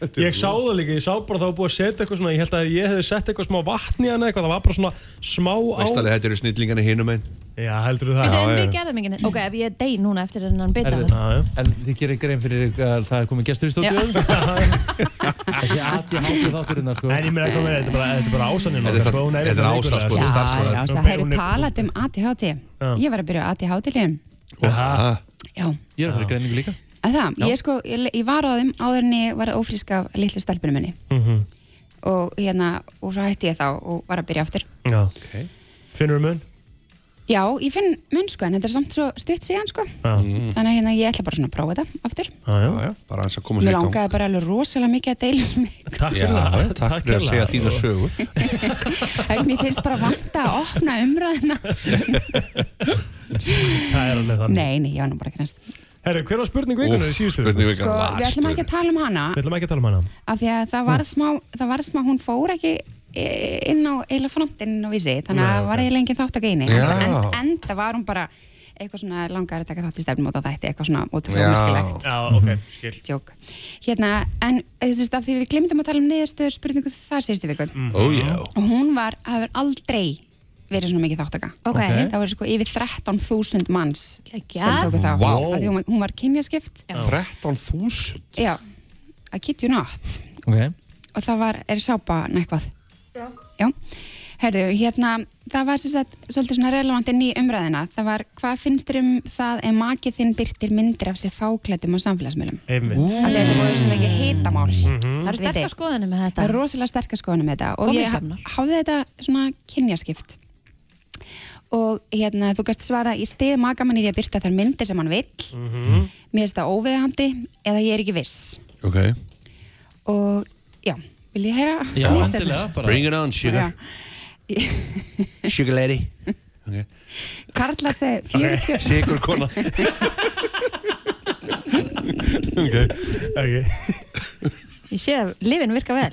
Ég sá það líka, ég sá bara það var búið að setja eitthvað svona, ég held að ég hefði sett eitthvað smá vatn í hana eitthvað, það var bara svona smá á...
Veist alveg, þetta eru snillingarnir hinum einn
Já, heldur þú það?
Þetta er
já.
við gerðum engin neitt Ok, ef ég dey núna eftir hennan bita
Herðu.
þá-
Já, já.
En þið gerir grein fyrir að það er komið gestur í
Já.
stúdíu Þessi aðtíð hátíð þátturinnar sko
En ég meina komið, þetta er bara, þetta er bara ásaninn
Þetta er
okkar,
samt-
hún
þetta er
eitthvað
ása, sko.
Já,
veikulega,
starfsmaður.
já,
Hún-
það hefur
hún er-
talat um ADHD. Ég var að byrja á ADHD-liðum.
Aha.
Já,
Ég er að fara í greiningu líka
að það. Ég sko, ég, ég var á þeim áður en ég var ófrísk af litlu stelpunum minni.
Mhm.
Og hérna, og svo hætti ég þá og var að byrja aftur.
Já. Finnur þú mun?
Já, ég finn mun sko, en þetta er samt svo stutt síðan sko.
Já.
Mhm.
Þannig að hérna, ég ætla bara svona að prófa þetta aftur.
Já, já.
Já, já, Bara hans að koma
Mér
sér í gang
langaði bara alveg rosalega mikið að deila þessu með
Takk
Já,
fyrir það.
takk fyrir að
kærlega.
segja þína
Og-
sögu
Það er sem ég finnst bara vanta að opna umræðina.
Það er alveg þannig.
Nei, nei, ég var nú bara grænst.
Herru, hver var spurning vikunar í síðustu?
Hvernig
viku?
við
Sko, við ætlum
vastu
ekki að tala um hana
Við ætlum ekki að tala um hana.
af því að það var smá, það var smá hún fór ekki eh, inn á eiginlega frontinn og vísi, þannig að það var eiginlega engin þátt að geini
Já.
en, en það var hún bara eitthvað svona langar að taka þátt í stefnum og það þætti eitthvað svona ótrúlega
Já.
merkilegt
Já, ok,
Mhm.
skil.
tjók hérna, en þú veist að því við glemdum að tala um neðastöður spurningu þar síðustu viku
Ó já
og hún var, hafur aldrei verið svona mikið þáttaka
Ok.
það voru sko yfir 13.000 manns
Geggjað.
sem tóku þátt
Vá.
af því hún, var- hún var kynjaskipt
13.000
já, I kid you not
Ok
og það var, er sápa nekvað? Já. Herðu, hérna, það var sem sagt svolítið svona relevant inn í umræðina. Það var, hvað finnst þér um það ef makið þinn byrtir myndir af sér fáklættum á samfélagsmiðlum?
Einmitt.
Það er það svona ekki hitamál.
Það eru sterkar skoðanir með
Það er
þetta
rosalega sterkar skoðanum með þetta
Og
og ég
misjafnar.
hafði þetta svona kynjaskipt. Og hérna, þú gæst svara, ég stið makamann í því að byrta þær myndir sem hann vill, mér finnst það óviðhandi eða ég er ekki viss.
Ok
Og já, vil ég heyra?
Já,
nýstefnur?
endilega bara
Bring it on sugar Sugar lady Ok.
Karla segi 40
Sigur kona Ok
Ok.
Ég sé að lifin virka vel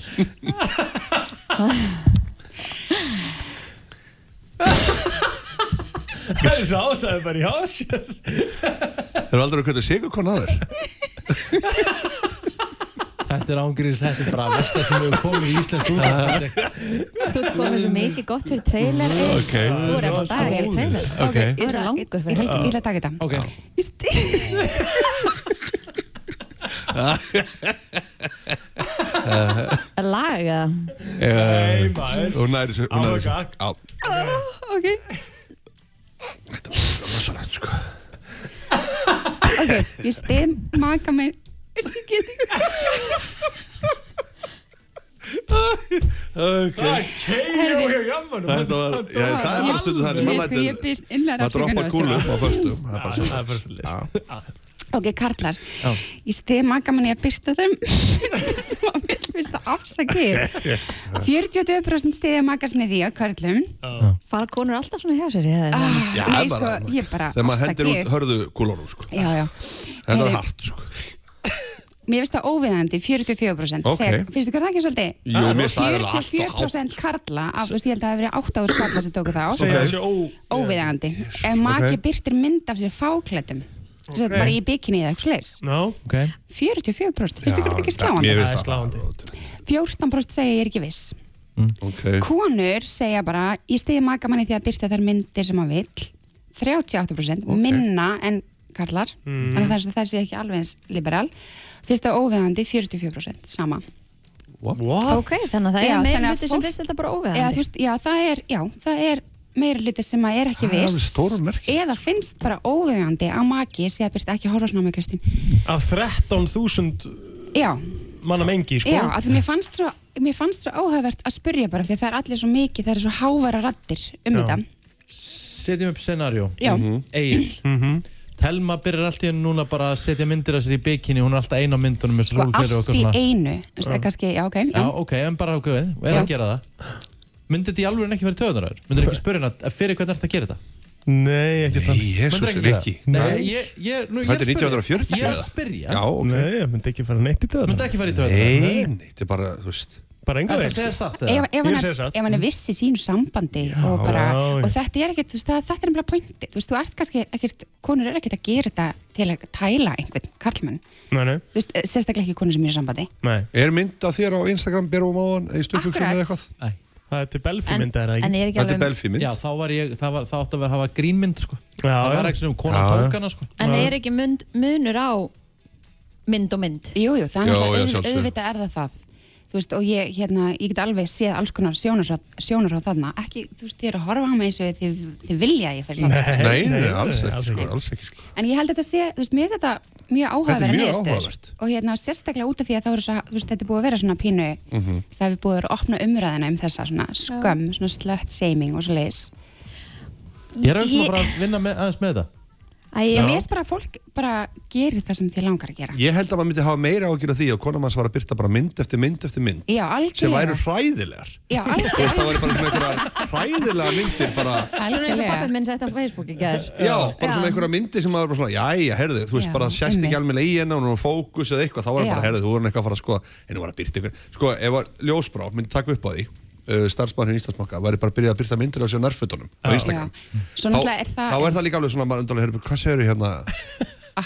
Það er svo ásæðið bara í hásjör
Þeir eru aldrei að kvölda sigurkon aður
Þetta er ángriðis, þetta er bara versta sem við komum í Íslands útvarp.
Þú ert komið svo mikið gott fyrir trailer
Ok.
Þú er eftir dag í trailer
Ok.
okay. Þú er langur fyrir
Ég ætla- ég
helgin
ætla að taka þetta
Ok
Lag eða?
Nei,
maður.
Eh, Hún næri þessu Hún næri þessu
Ágag.
Já,
Ah,
Ok
það er rosalegt sko
Ok, ég stið maka minn Ég get
Ok
Keir og hjá jammanum
Þetta var já, Það er bara stundu þannig
Ég
Maður
sko, ég
lætur
býst innlega
Maður droppar kúlum á föstum Það er bara
Það er bara
svo
svolítið
Ok, Karlar,
Já.
ég stið maka minn í að byrta þeim Svo vil fyrst að afsaki 42% stiði maka sinni því á Karlum
Fara konur alltaf svona hjá sér eða?
Já,
Nei,
bara-
sko, ég bara
Þegar maður hendir
afsaki.
út hörðu kúlunum sko
Já, já
Þetta
Heyrðu,
var hart sko
Mér finnst það óviðandi, 44%
Ok.
okay. Finnst ykkur það ekki svolítið?
Jú, mér finnst það alveg allt of hátt,
44% karla af, þú veist, ég held að það hefur verið 8 ára karla sem tóku það á
Segja það sé ó-
Óviðandi Ef maki
ok.
byrtir mynd af sér fáklættum okay. Sett bara í bikini eða eitthvað slis
No.
Okay.
44% Finnst ykkur þetta ekki
Mér
sláandi?
finnst það sláandi
14% segja ég er ekki viss
Ok
Konur segja bara Ég stiði maka manni því að byrta þær myndir sem hann vill 38% minna en karlar Þannig að þess að þær sé ekki alveg eins liberal Finnst það óviðandi 44% sama
What?
Ok, þannig að það
Já,
er meira
þannig að
hluti sem
fólk-
finnst þetta bara
Já, þú
óveðandi
veist, já, það er, já, það er meira hluti sem að er ekki
Það er
viss
alveg stórmerkilegt, sko.
eða finnst bara óvegandi að maki sé að byrta ekki að horfa svona á mig, Kristín
Af 13.000
já,
manna mengi sko
já, að því mér fannst svo mér fannst svo áhugavert að spurja bara því að það er allir svo mikið, það er svo hávara rattir um
Já.
þetta
Setjum upp scenarjó
já,
Mhm.
Egil
Mhm.
Telma byrjar allt í hennu núna bara að setja myndir af sér í bikini Hún er alltaf ein á myndunum með
sko
rúlfjöru
allt
og eitthvað
í
svona
einu þú veist, það er kannski, já, ok,
Já,
já,
ok, en bara okkur við, við erum að gera það Myndir þetta í alveg ekki verið töðunar þær? Myndir ekki spyrja hennar, fyrir hvernig ertu að gera þetta?
Nei, ekki
Nei,
þannig
Jésús,
Myndirðu ekki
Rikki
gera það? Nei, ég, ég, nú, ég
Þetta
er
er
að spyrja.
1940
Ég er að
eða?
spyrja
Já, ok
Nei, ég myndi ekki fara neitt í
Myndir
töðan
ekki fara í töðunar?
Nei, nei, þetta er bara, þú veist
Bara
Er
engur
þetta að segja satt
Ef,
eða?
ef,
Ég
hann
segi
er,
satt.
ef hann er viss í sínu sambandi og, bara,
Já, já.
og þetta er ekkert, þú veist, það, þetta er nefnilega pointi þú veist, þú ert kannski ekkert, konur er ekkert að gera þetta til að tæla einhvern karlmann
Nei, nei,
þú veist, eh, sérstaklega ekki konur sem er í sambandi
nei
Er mynd af þér á Instagram, berum á hann í stundbuxum
Akkurat.
eða eitthvað?
Það er til Belfi
En,
mynda er það
en
ekki
ég er ekki
Þetta
alveg
er Belfi mynd
Já, þá var ég, það, var, það átti að vera að hafa grínmynd sko
Já,
Það var
já.
ekki svona um
Já,
konan
já.
tókana sko
En er ekki mynd, munur á mynd og mynd?
Jú, jú, það er
Já, já,
náttúrulega auð,
sjálfsögðu.
auðvitað er það það Þú veist, og ég, hérna, ég get alveg séð alls konar sjónur, sjónur á þarna ekki, þú veist, þið eru að horfa á mig eins og þið, þið vilja að ég fyrir langt
Nei, nei, alls ekki, sko, alls ekki sko.
en ég held að þetta sé, þú veist, mér finnst þetta mjög áhugaverð
Þetta er mjög áhugavert.
og hérna, sérstaklega út af því að það voru svo, þú veist, þetta er búið að vera svona pínu
Mhm.
það hefur búið að vera að opna umræðina um þessa svona skömm, svona slött shaming og svo leis
Ég er auðvitað
Ég-
bara að vinna með, aðeins með þetta
Æ, ég
ég veist bara að fólk bara gerir það sem þið langar að gera
Ég held að maður myndi hafa meira ágjur af því að konar manns var að byrta bara mynd eftir mynd eftir mynd
Já,
sem
algjörlega
væru hræðilegar
Já,
Þú veist, það
algjörlega
væri bara svona einhverjar hræðilegar myndir bara
Svona eins og pappi minn sett á Facebook í gær
Já, bara svona einhverja myndir sem maður bara svona, jæja, herðu, þú veist,
Já,
bara það sést
einmitt.
ekki alveg í henni og hún er fókus eða eitthvað, þá var það bara,
Já.
herðu, þú voru eitthvað að fara að skoða, en hún var að byrta ykkur. Sko, ef var ljósbrá, myndi taka upp á því, uh, starfsmæðurinn í Íslandsbanka, væri bara að byrja að byrta myndir af sér nærfötunum á Instagram.
Já. Svo náttúrulega er það-
Þá er það líka alveg svona, maður undarlega, herðu, hvað segir hérna,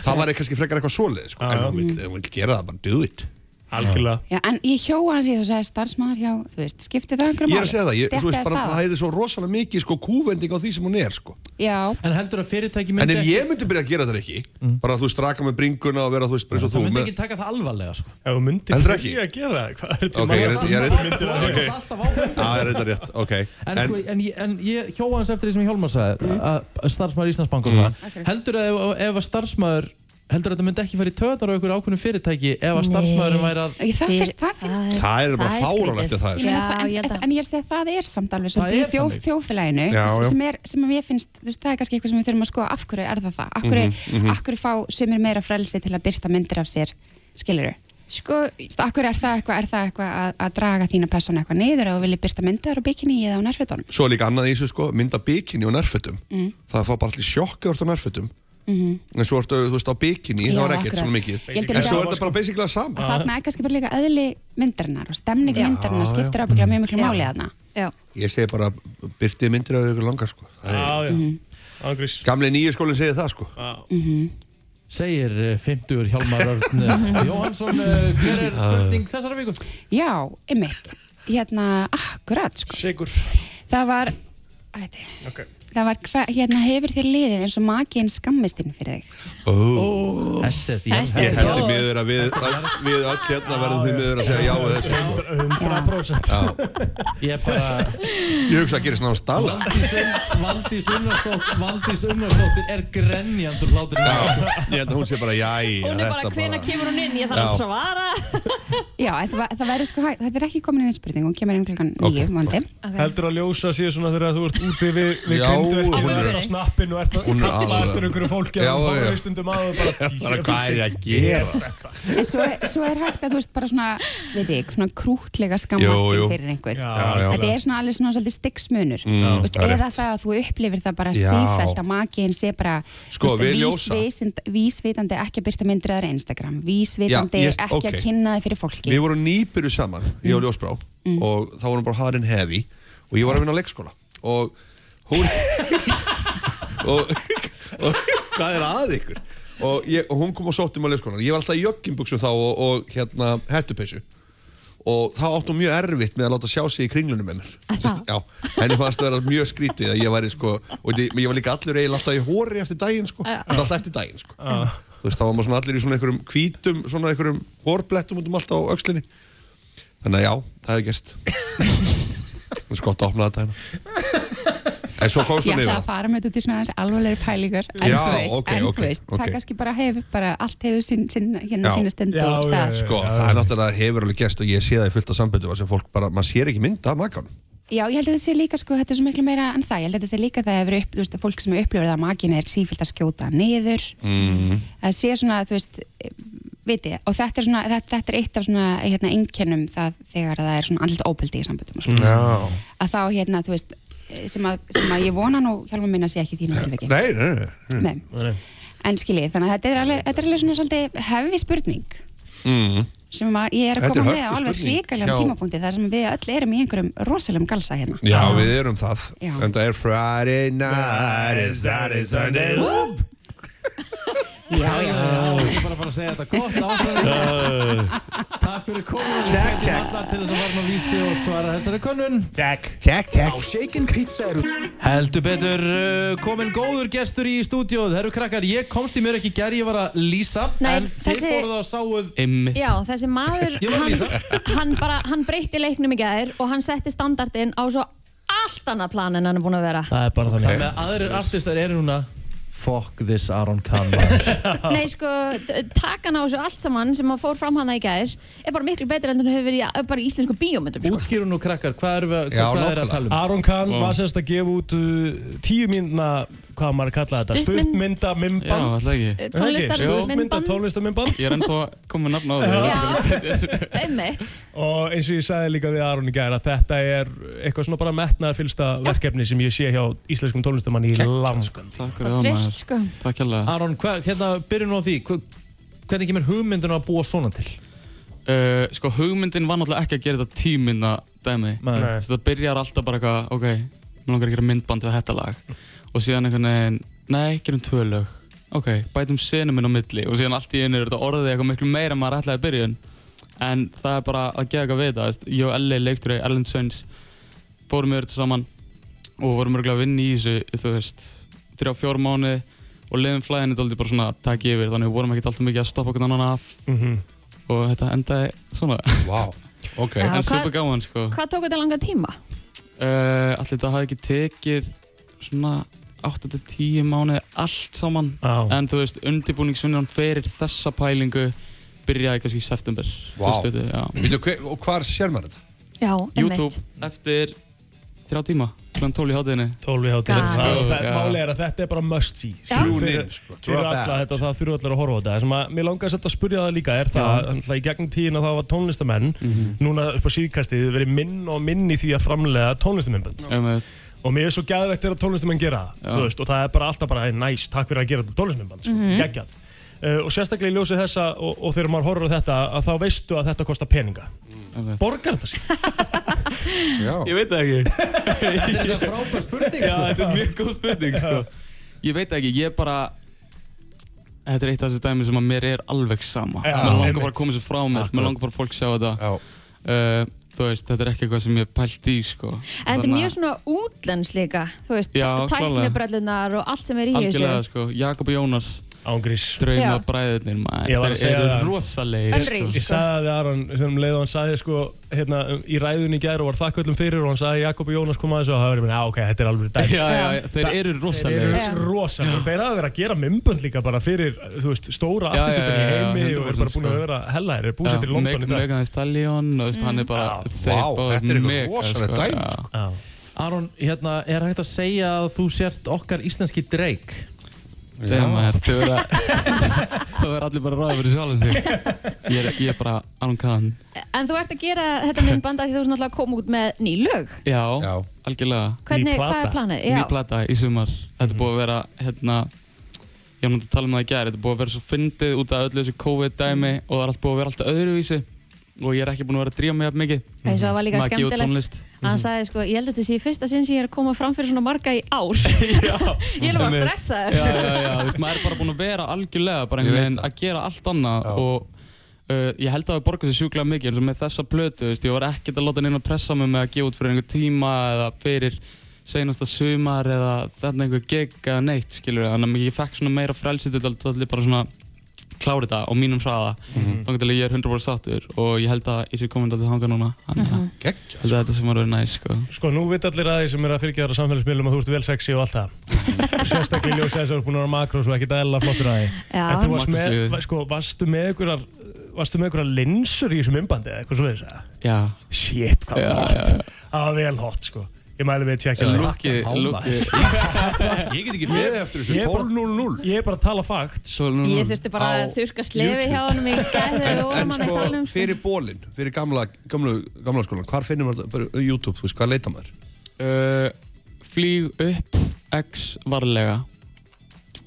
það var kannski frekar eitthvað svoleið, sko,
Já,
en
já.
hún vill, ef hún vill gera það, bara do it.
Algjörlega
Já, en ég hjóa hans í þú sagði starfsmaður hjá, þú veist, skipti það einhverjum
Ég er að segja það, ég, þú veist, bara, það
staða.
er svo rosalega mikið, sko, kúvending á því sem hún er, sko.
Já,
En heldur að fyrirtæki
En
myndi
ef
ekki
ég myndi byrja að gera þetta ekki, bara þú straka með bringuna og vera, þú veist, bara eins og
Það
þú,
myndi
með-
ekki taka það alvarlega sko
Ef þú myndir
Heldur ekki?
að gera það, hvað er þetta
Ok, ég er ég er
Það
reyndar-
er
ok.
alltaf ábyrgð
Já, það er þetta rétt, ok.
En,
En,
sko, en, ég- en ég hjóa hans eftir því sem Hjálmar sagði mm. að starfsmæður Íslandsbank og svona heldur að ef, ef að starfsmæður heldur að þetta myndi ekki fara í töðnar á einhverju ákveðnum fyrirtæki ef að starfsmæðurinn væri að
Ég- það finnst, það finnst
Það er bara
skrítið.
fáránlegt að það er
Ég meina
Já,
það,
ég held
en,
að-
en ég er að segja að það er samt alveg
Það
svolítið í
er
þjóf,
þannig.
þjófélaginu
Já, já.
sem er, sem að mér finnst, þú veist, það er kannski eitthvað sem við þurfum að skoða af hverju er það það, af
Mhm.
hverju, af hverju fá sumir meira frelsi til að byrta myndir af sér skiluru,
Sko,
veist, af hverju er það eitthvað, er það eitthvað að, að draga þína persónu eitthvað niður og vilja byrta myndir á bikini eða á nærfjötunum
Svo er líka annað í þessu sko, mynda bikini og nærfötum
Mm,
Mhm.
Það fá bara allir sjokk eða þú ert á nærfötum
mhm.
En svo ertu, þú veist, á bikini,
Já,
það var ekkert
akkurat.
svona mikið
Ég sko. held að
En svo
líka-
er þetta bara basically það sama
þarna er kannski bara líka eðli myndarinnar og stemning myndarinnar skiptir ábygglega mjög miklu máli þarna
já,
Ég segi bara, byrtið myndir af ykkur langar sko
Já, já,
Mhm.
ágrís
Gamli nýju skólinn segir það sko
Segir eh, 50 Hjálmar Örn eh, Jóhannsson, eh, hver er spurning þessara viku?
Já, einmitt. Hérna, akkurat, sko.
Sigur.
Það var, ætti,
okay.
það var, hva, hérna, hefur þér liðið eins og makiðin skammist inn fyrir þig?
oh.
Þessi,
Þessi er
Ég held
góð.
því miður að við, við öll hérna verðum því miður að segja já við þessu sko.
100% Ég bara
Ég hugsa að gerist náttúrulega stala
Valdís Un- Valdís Unnarsdóttir Valdís Unnarsdóttir er grenjandur hlátur
Ég held að hún sé bara jæja
Hún er bara,
þetta
"Hvenær
kemur hún inn? Ég
þarf að Já.
svara
Já, en það, var- það væri sko, hæ- þetta er ekki komin inn í spurning, hún kemur inn klukkan nýju, okay. vandi.
Heldur að ljósa síðan svona þegar þú ert úti við, við
Já,
grindverkið
hún
og
er-
ert á snappinu og ert að
hún er
kalla
alveg-
eftir einhverju fólki
Já,
og
já.
bara stundum á og bara
Bara hvað er ég að gera
En svo, er- svo er hægt að þú veist bara svona, við þig, svona krútlega skammast
Jú, jú.
sem fyrir einhvern.
Já, já.
Þetta er svona alveg svona svolítið styggsmunur.
Mm,
Mm, veist,
það er
eða
rétt.
það að þú upplifir það bara
Já.
sífælt að makiðin sé bara
Sko,
þú
við
vís-
ljósa.
vísind- vísvitandi ekki að byrta myndir aðra Instagram, vísvitandi
Já, ég-
ekki
ok.
að kynna þið fyrir fólki.
Við vorum nýbyrju saman, ég og Ljósbrá og þá vorum bara harinn hefi og ég var að vinna á leikskóla og hún og, og hvað er að ykkur og, ég, og hún kom og sótti mig á leikskólan ég var alltaf í joggingbuksum þá og, og hérna hættupeysu og þá átti hún mjög erfitt með að láta sjá sig í kringlunum með mér Já, henni fannst það vera mjög skrítið að ég væri sko, og ég, ég var líka allur eiginlega alltaf í hóri eftir daginn sko, alltaf eftir daginn sko þú veist, þá var maður svona allir í svona einhverjum hvítum, svona einhverjum hórblettum út um allt á aukslinni þannig að já, það hefur gerst það er sko gott að opna þetta hérna en svo komst
Ég
hún
ætla
yfir
að
það
fara með þetta út í svona aðeins alvarlegri pælingar en
Já,
þú veist,
ok,
en
ok,
þú veist
ok.
það kannski bara hefur bara allt hefur sín, sín, hérna
Já.
sína stund og stað
sko, það er náttúrulega hefur alveg gerst og ég sé það í fullt af samböndum sem fólk bara, maður sér ekki mynd af makan
Já, ég held að þetta sé líka, sko, þetta er svo miklu meira en það, ég held að þetta sé líka það hefur upp, þú veist, fólk sem upplifir það að magin er sífilt að skjóta niður,
mm.
að sé svona, þú veist, vitið, og þetta er svona, þetta, þetta er eitt af svona, hérna, einkennum það þegar það er svona andlut ópildi í samböndum og
Mm.
svona,
já
að þá, hérna, þú veist, sem að, sem að ég vona nú, Hjálmar minna sé ekki í þínum tilviki.
nei, nei, nei,
Nei. En skiljið, þannig að þetta er alveg, þetta er alveg svona svolítið hefði spurning
Mm.
sem að ég er að
Þetta er
koma með á
hörkuspurning
alveg hrikalegum
hjá-
tímapunkti þar sem við öll erum í einhverjum rosalegum galsa hérna.
já, við erum það
Já.
en það er Friday night is that is Sunday Whoop.
Já,
já Ég er bara að fara að segja þetta gott ásverðin Takk fyrir komin Takk, takk Alla til þess að varna vísi og svara þessari könnun Takk
Takk, takk
Á Shaken Pizza eru Heldur betur uh, komin góður gestur í stúdíóð Herru krakkar, ég komst í mér ekki gær Ég var að lýsa
Nei,
En þið
þessi-
fóruð og sáuð
Einmitt
já, þessi maður
Ég var að
hann,
lýsa
hann bara, hann breytti leiknum í gæðir og hann setti standardinn á svo allt annað plan en hann er búin að vera
Það er bara þannig Þannig að aðrir artistar eru núna Fuck this Aron Kahn
Nei, sko, t- takan á þessu allt saman sem að fór fram hana í gæðir er bara miklu betur en hann hefur verið í, bara í íslensku bíómyndum sko.
Útskýru nú krakkar, hvað er, hvað
Já,
hvað er að tala um?
Aron Kahn
Og-
var semst að gefa út uh, tíu mínuna, hvað á maður að kalla þetta,
Stuttmynd.
stuttmynda
Já,
mimband
ætli ekki. Eh, tónlistar-
Stuttmynda
myndband.
tónlistamimband
Ég er ennþá að koma með nafn á
Já.
það
Einmitt
Og eins og ég sagði líka við Aron í gæra þetta er eitthvað svona bara metnaðarfylsta verkefni sem ég sé hjá íslenskum tónlistamanni í langan
Takk
fyrir það, maður. Trist, sko.
Takk hérlega
Aron, hva, hérna, byrjum nú á því hva, Hvernig kemur hugmyndin að búa svona til?
uh, sko hugmyndin var náttúrulega ekki að gera þetta tíminna dæmi
Nei. Nei.
Svo þetta byrjar alltaf bara eitthvað, ok, mér langar að gera myndband við þetta lag
Mm.
og síðan einhvern veginn, nei, gerum tvö lög ok, bætum senum inn á milli og síðan allt í einu er þetta orðið eitthvað miklu meira en maður ætlaði í byrjun en það er bara að geða eitthvað við þetta veist, ég og Elli leikstjóri, Erlend Söns fórum við þetta saman og vorum örgulega að vinna í þessu þú veist, þrjá fjór mánu og leiðum flæðinu dálítið bara svona að taka yfir þannig við vorum ekkert alltaf mikið að stoppa okkur annan af
Mhm.
og þetta endaði svona
wow. ok
Já,
en
hvað-
super gaman sko uh,
Hvað tók þetta langa tíma?
allir Eh, þetta hafði ekki tekið svona 8-10 mánuði allt saman
ah.
en þú veist undirbúningsvinnan fyrir þessa pælingu byrjaði kannski í september
Vá.
stuttu, já.
Býtu, hver, og hvar sér maður þetta?
Já,
YouTube eftir þrjá tíma klant 12 í hátíðinni
12 í
hátíðinni.
Og það-
Já.
Málið er að þetta er bara must see
Já.
skilur,
Tune
fyrir-
in, sko.
fyrir
Drop
alla
out.
þetta og það þurfa allir að horfa á þetta Það sem að mér langar samt að spyrja það líka er það að í gegnum tíðina það var tónlistamenn
Mhm.
núna upp á síðkastið verið minn og minn í því að framlega tónlistaminnbönd og mér er svo gæðvegt þegar tónlistamenn gera það þú veist, og það er bara alltaf bara hey, nice, takk fyrir að gera þetta tónlistaminnbönd sko,
Mhm.
geggjað uh, og sérstaklega í ljósi þessa og, og þegar maður horfir á þetta að þá veistu að þetta kostar peninga borgar þetta sig?
Já.
Ég veit það ekki
Þetta er frábær spurning sko.
Já, þetta er mjög góð spurning sko. Ég veit það ekki, ég bara Þetta er eitt af þessi dæmi sem að mér er alveg sama
Já,
Mér langar bara
einmitt.
að koma þessu frá mér Mér langar bara að fólk sjá þetta uh, Þú veist, þetta er ekki eitthvað sem ég hef pælt í sko.
En þetta er mjög svona útlens líka, þú veist,
Já, klárlega.
tæknibrellunar og allt sem er í þessu.
Algjörlega sko, Jakob og Jónas
Ángrís
Drauma
Já.
bræðirnir
Ég var
maður
að
Þeir
segja
eru
það.
rosalegir
Unreal,
Ég
sko.
sagði það við Aron þegar um leið og hann sagði sko, hérna, um, í ræðunni í gær og var þakkvöldum fyrir og hann sagði Jakob og Jónas koma aðeins og það var ég meina, "Já, ok, þetta er alveg dæmi
Já, já, já, þeir
Það-
eru rosalegir.
Þeir eru rosalegir, þeir hafa verið að gera mymbönd líka bara fyrir, þú veist,
Já, já,
stóra afturstundar í
já, já,
heimi og eru
100%
bara búin að
sko.
vera hella, þeir eru búsettir í
Já,
London í
Meg-
dag Mm.
Megan Thee Stallion, þú veist, hann er bara þeir
Vá,
báðir
þetta er eitthvað
mega,
rosaleg
sko,
dæmi,
já.
sko.
Aron, hérna, er hægt að segja að þú sért okkar íslenski dreik?
Þegar maður, þau verða Þau verða allir bara ráðið fyrir sjálfum sig Ég er, ég er bara Aron Kahn
En þú ert að gera þetta myndband að því þú ert náttúrulega að koma út með ný lög.
Já, algjörlega
Hvernig- Ný hvað plata. er planið? Já.
Ný plata í sumar
Mm.
Þetta er búið að vera, hérna Ég var náttúrulega að tala um það í gær Þetta er búið að vera svo fyndið út af öllu þessu COVID-dæmi Og það er allt búið að vera alltaf öðruvísi Og ég er ekki búin að vera að drífa mig jafn mikið
Eins og það var líka
Maggi og
skemmtilegt.
tónlist. Mhm.
Hann sagði sko, ég held að þetta sé í fyrsta sinn sem ég er að koma fram fyrir svona marga í ár. ég er bara
Einmitt.
stressaður.
Já, já, já, þú veist, maður er bara búinn að vera algjörlega bara
Ég
einhvern
veit
veginn að gera allt annað og uh, ég held að það borga sér sjúklega mikið eins og með þessa plötu, þú veist, ég var ekkert að láta neina pressa mig með að gefa út fyrir einhver tíma eða fyrir seinasta sumar eða þarna einhver gig eða neitt, skilur við, þannig að ég fekk svona meira frelsi til að allir bara svona klára þetta á mínum hraða
Mhm.
þannig að ég er 100% sáttur og ég held að ég sé komin alltaf þangað núna þannig að
Gekkja,
held að þetta sem var verið næst sko.
Sko, nú veit allir að því sem eru að fylgjaðara samfélagsmiðlum að þú ert vel sexy og allt það. Sérstaklega í ljósi þess að þú ert búin að vera makrós og ekkert aðeila flottur að því.
Já.
En þú varst með,
Makríslífið.
va- sko, varstu með einhverjar, varstu með einhverjar linsur í þessum umbandi eða eitthvað svoleiðis að?
Já.
Shit, hvað
Já,
var
já,
hot.
já.
Það var vel hot, sko. Ég mæli við að tjekka
En
það.
Lukki- Lukki-
Ég get ekki með eftir þessu
Ég er bara-
12.00
Ég er bara að tala fakt.
Ég þurfti bara að þurka slefi hjá honum í gæð þegar við vorum
En
hann í
sko,
salnum.
fyrir bólinn, fyrir gamla, gamla, gamla skólan, hvar finnum maður þetta? Bara YouTube, þú veist, hvað leita maður?
Uh, flýg upp X varlega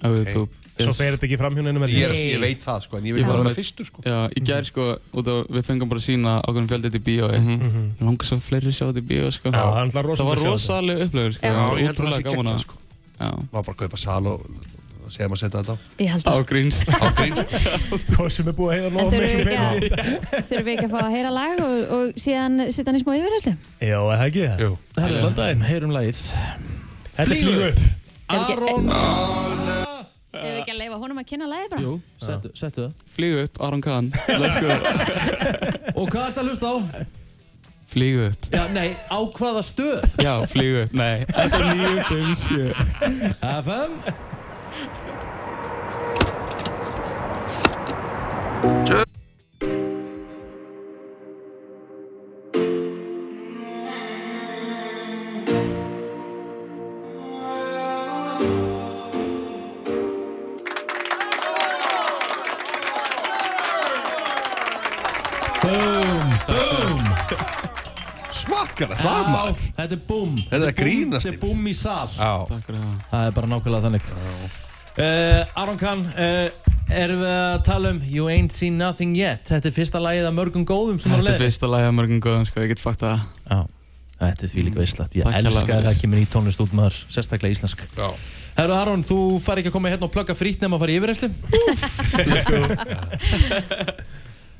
á YouTube
Svo fer þetta ekki fram hjá neinum
Ég, er, ég veit það, sko, en ég vil
var
bara vera
með-
fyrstur, sko.
Já, í gær sko, út af við fengum bara að sína ákveðin fjöldið til bíói
Mhm.
mm -hmm. Langar svo fleiri sjá þetta í bíói sko
Mhm. Já, það er alltaf rosalega
var
að sjá
rosalega upplöður sko
Já,
það var
ég held að það sé
ótrúlega gaman
geggjað,
að-
sko.
Já,
Má bara kaupa sal og og segja maður að setja þetta á.
Ég held
á
að.
gríns
Á grín, sko.
Hvað sem er búið að heiða
En
nóg
þurfum við
miklu
ekki
pening.
að, þurfum við ekki að fá að heyra lag og, og síðan setja hann í smá yfirherslu?
Já, er það ekki það?
Jú.
Herri,
Já.
allan daginn, heyrum lagið.
Þetta er flýgur upp.
Aron,
Ef við ekki að leifa honum að kynna lagið bara?
jú, settu, settu það.
Flýg upp, Aron Kahn Let's go
Og hvað ert að hlusta á?
Flýg upp
Já, nei, á hvaða stöð?
Já, flýg upp, nei Þetta er nýju, fimm, sjö
FM Boom, boom
Smakkar það,
Já,
maður.
Þetta er boom
Þetta er
boom,
grínast
Þetta er boom í sal
Já.
Takk fyrir það
Það er bara nákvæmlega þannig uh, Aron Kahn uh, Erum við að tala um You Ain't Seen Nothing Yet Þetta er fyrsta lagið af mörgum góðum sem
Þetta er
leiðinni.
fyrsta lagið af mörgum góðum sko, ég get fakt að
Já, þetta er því líka veistlætt Ég
Takk
elska
hérlega
að
fyrir.
það kemur í tónlist út maður Sérstaklega íslensk
Já.
Herru Aron, þú far ekki að koma hérna og plugga frýtt nema að fara í yfirreyslu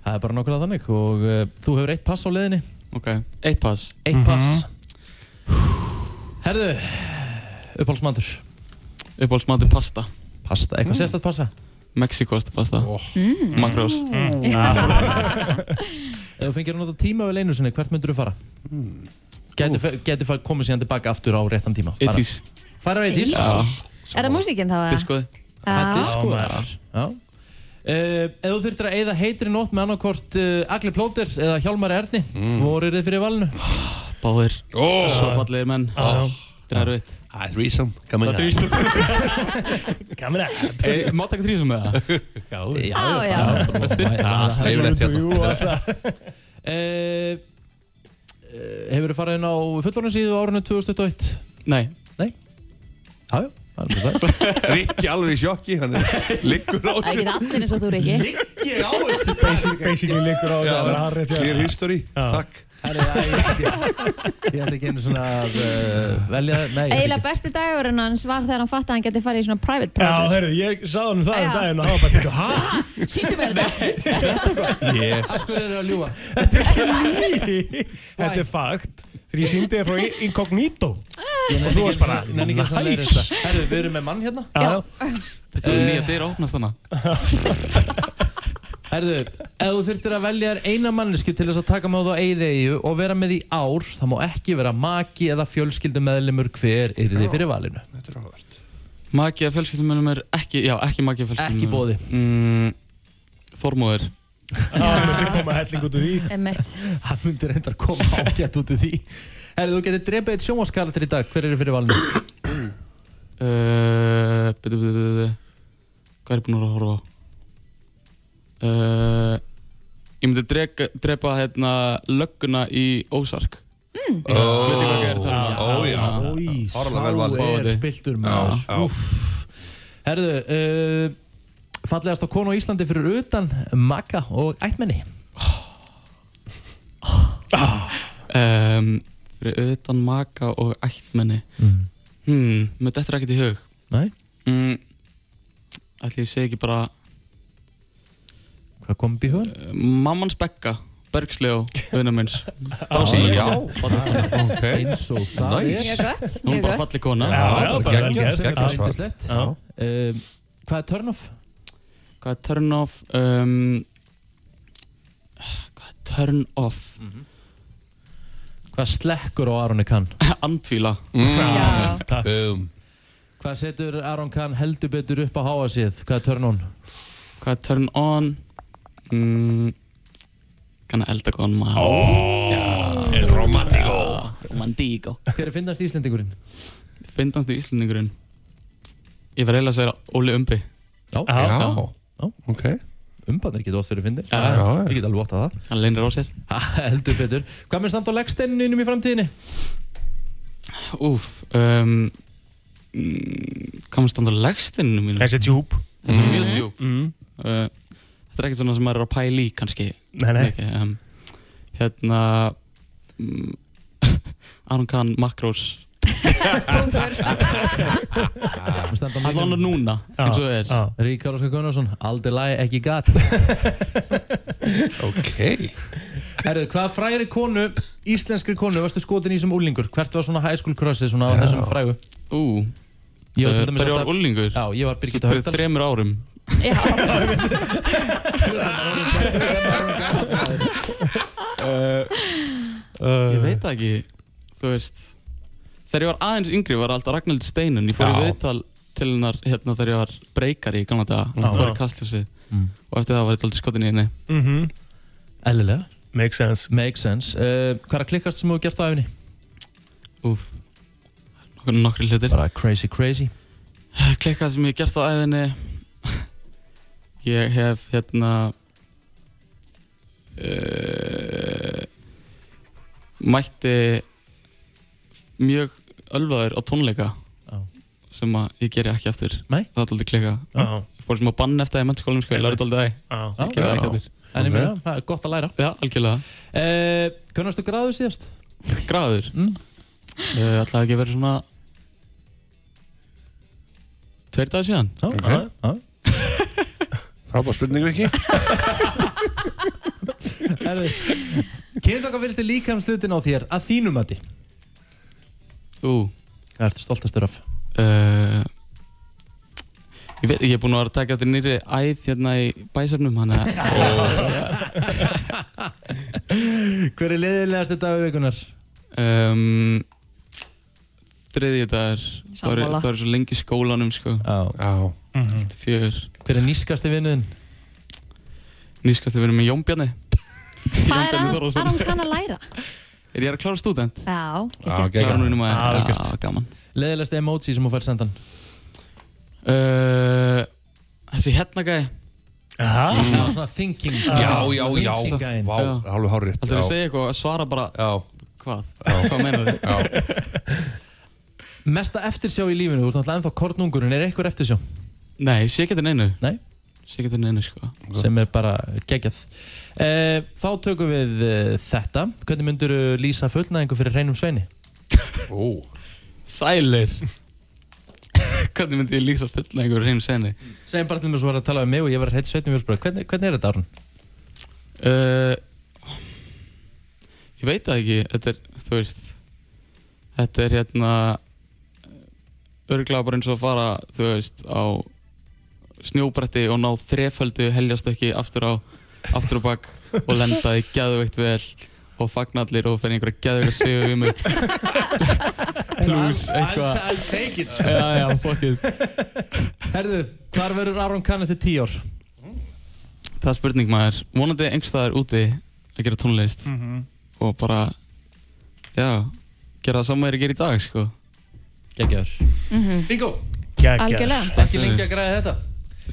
Það er bara nákvæmlega þannig Og uh, þú hefur eitt pass á leiðinni
Ok, eitt pass
Eitt pass Herðu Uppáhaldsmandur
Uppáhaldsmatur pasta
Pasta, eitthvað sérstætt passa
Mexikosta pasta
Mm. Oh. Mm.
Makrós
Ef þú fengir að nota tíma vel einu sinni, hvert myndur þú fara?
Hmm.
Gæti, fe- gæti fa- komið síðan tilbaka aftur á réttan tíma Bara-
Eittís
Fara á Eitís
Já,
Er það músíkinn þá? eða?
diskoði
sko- Þetta
Já.
er sko Já Uh, ef þú þurftir að eyða heitri nótt með annarkvort uh, Agli Plóter eða Hjálmar Erni mm. voru þið fyrir valinu?
Báðir
Ó,
Svo fallegir menn Ah, Þetta er erfitt
Oh. Ah. það er threesome, gaman það.
Kamera.
Ey, Eh, Má taka þrýsum með það?
Já,
Á, já.
Það er yfirleitt hérna.
uh, eh, Hefur þið farið inn á fullorðinsíðu á árinu 2021?
Nei
Nei? Já, já
Rikki alveg í sjokki hann er liggur á
Það er ekki allir eins og þú, Riki. Liggi á þessu.
Basic- Basically liggur á þetta
Já,
að vera harrið til
clear history,
takk
Ég ætla ekki einu svona að uh, velja Nei, ég ætla
Eiginlega besti dagurinn hans var þegar hann fatt að hann geti farið í svona private
Já,
process.
heyrðu, ég sá hann um það um
Já.
daginn og hann var bara, "Bíddu, ha?
Sýttu mér þetta.
Yes.
Akkur er það að ljúa?
Þetta er ekki ný Þetta er fakt Þegar ég síndi þér frá in- Incognito Og þú varst bara,
Nenni ekki svona leirist
næs
það Herðu, við erum með mann hérna Eh,
Já.
Þetta er nýja dyr opnast hana
Herðu, ef þú þurftir að velja þér eina mannesku til þess að taka með þú á eigðegju og vera með í ár, það má ekki vera maki eða fjölskyldumeðlimur hver er þið fyrir valinu
Maki að fjölskyldumennum er ekki, já, ekki maki að fjölskyldumennum
Ekki boði.
mm, Þormóður
Það myndi koma helling út úr því
Emmett.
Hann myndi reyndar koma ágætt út í því Herðu, þú getur drepið eitt sjónvaskaratir í dag Hver eru fyrir valinu?
Eh, uh, bitu, bitu, bitu, bitu. Hvað er ég búinn að vera að horfa á? Uh, ég myndi drepa, drepa hérna, lögguna í Ósark mm. oh, um.
Ó, já. Í, sá er spiltur maður Úff. Herðu, uh, fallegast á konu á Íslandi fyrir utan Magga og ættmenni
Ah. um, Fyrir utan maka og ættmenni mm. hmm, Mér dettur ekkert í hug
Nei.
mm, Ætli ég segi ekki bara Uh,
Hvað kom upp í hugan?
Mammans Begga Bergsljó, vinnum minns
Já,
Dásin,
já.
já
Ok. Eins og það er. Mjög gott,
Hún
mjög
er bara
gott.
falli kona
Já, Já, já, bara bara vel geggjað, gert, geggjað
geggjast
svar. yndislegt. Hvað er turn off?
Hvað er turn off? Um, hvað er turn off?
Hvað slekkur á Aroni kann?
Andfíla
Já.
Takk.
um.
Mm. Hvað setur Aron Kahn heldur betur upp á háa síð? Hvað er turn on?
Hvað er turn on? Mm, kann að elda góðan maður oh,
El romantico
Romantico
Hver er finnast íslendingurinn?
Fyndast í Íslandingurinn Ég verð eiginlega að segja Óli Umbi
Já, já. já.
ok
Umbarnir getur oft fyrir findir
Já, já.
Ég get alveg ótt að það
Hann leynir á sér
Heldur betur Hvað með samt á leggsteininum í framtíðinni?
Úf um, mm, Hvað maður standa á legstinu mínu?
Þessi er djúp
Þessi er mjög djúp
Mm.
uh, Þetta er ekkert svona sem maður er að pæla í kannski
Nei, nei.
Mikið, um, Hérna um, Aron Kahn Makrós Allan núna eins og það
er
Ríkar Óskar Gunnarsson Aldrei lagi ekki gatt
Ok
Herðu, hvað fræri konu Íslenskri konu varstu skotin í sem úlingur? Hvert var svona high school crossið svona á þessum frægu?
Ú
Ég var til
Eh,
dæmis
þegar ég
alltaf-
var úlingur
Já, ég var Birgitta
Svo fyrir
Haukdal.
Þremur árum Ég veit það ekki Eh, Þú veist Þegar ég var aðeins yngri var alltaf Ragnhild Steinun Ég fór í
Já.
viðtal til hennar hérna þegar ég var breykari í gamla daga
Já. Mm.
Það var í kastljósi Og eftir það var ég alltaf skotin í henni
Mhm.
Ellilega
Makes sense
Makes sense uh, Hvað er að klikkast sem þú hefur gert á æfinni?
Úf Nokkur nokkri hlutir
Bara crazy crazy
Klikkað sem ég hef gert á æfinni Ég hef hérna uh, Mætti Mjög ölvaður á tónleika Sem að ég geri ekki aftur
Nei.
Það er alltaf klikkað
Já.
Ég fór sem að banna eftir það í mennskólanum sko, Ég lærði alltaf
það
Ég geri það ekki aftur
En ég meina, það er gott að læra
Já, algjörlega
uh, Hvernastu gráðu síðast?
Graður
mm.
uh, Alltaf ekki verið svona Tveir dagar síðan
Já,
já,
já
Frábær spurning ekki
Herðu, kynnt okkar virðist líkamslutin á þér að þínum mati
Ú
Hvað ertu stoltastur af?
Uh, ég veit ekki, ég er búinn að vera að taka eftir nýri æð hérna í bæsefnum hann að
Hver er leiðilegast þetta af vikunar?
um, Þriðji dagar Það
Sammála.
er svo lengi í skólanum sko
Já,
Já.
Allt fjör
Hver er nýskasti vinnuðin?
Nýskast við erum með Jón Bjarni
Hvað er
Jón
að
Bjarni Þórðarson.
hann kann að læra?
Er ég að klára stúdent?
Já,
Já,
ekki.
Klára núna í maður
Já,
Já,
algjört.
gaman
Leiðilegast emoji sem þú fær sendan?
uh, Þessi hérna gæði
Aha.
Já, svona thinking
Já, já, já
Thinking guy.
Vá, hálfu hárrið
Það er að segja eitthvað að svara bara
Já
Hvað? Hvað meinar þið?
Mesta eftirsjá í lífinu, þú ert náttúrulega ennþá kornungurinn, er einhver eftirsjá? Nei, sé ekki þetta neinu. Nei? Sé ekki þetta neinu, sko. Sem er bara geggjað. E, þá tökum við e, þetta. Hvernig myndur lýsa fullnæðingu fyrir reynum sveini? Ó, sælir.
Hvernig myndi ég lýsa fullnæðingur hreinu seni?
Segjum bara til mér svo var að tala um mig og ég var heitt sveitin við hvernig, hvernig er þetta árun?
Uh, ég veit það ekki, þetta er, þú veist, þetta er hérna, örglega bara eins og að fara, þú veist, á snjóbretti og ná þreföldu heljastökki aftur á, aftur á bak og lenda því geðveikt vel og fagna allir og fer einhverja geðveika sigur við mig plus eitthvað
I'll take it, sko.
Já, já, fuck it
Herðu, hvar verður Aron Kahn eftir tíu ár?
Það er spurning maður, vonandi einhverstaðar úti að gera tónlist
Mhm.
og bara, já, gera það saman er að gera í dag, sko.
Gekkjaður.
Mhm.
Bingo!
Geggjaður. Algjörlega.
Ekki lengi að
ε,
græða þetta.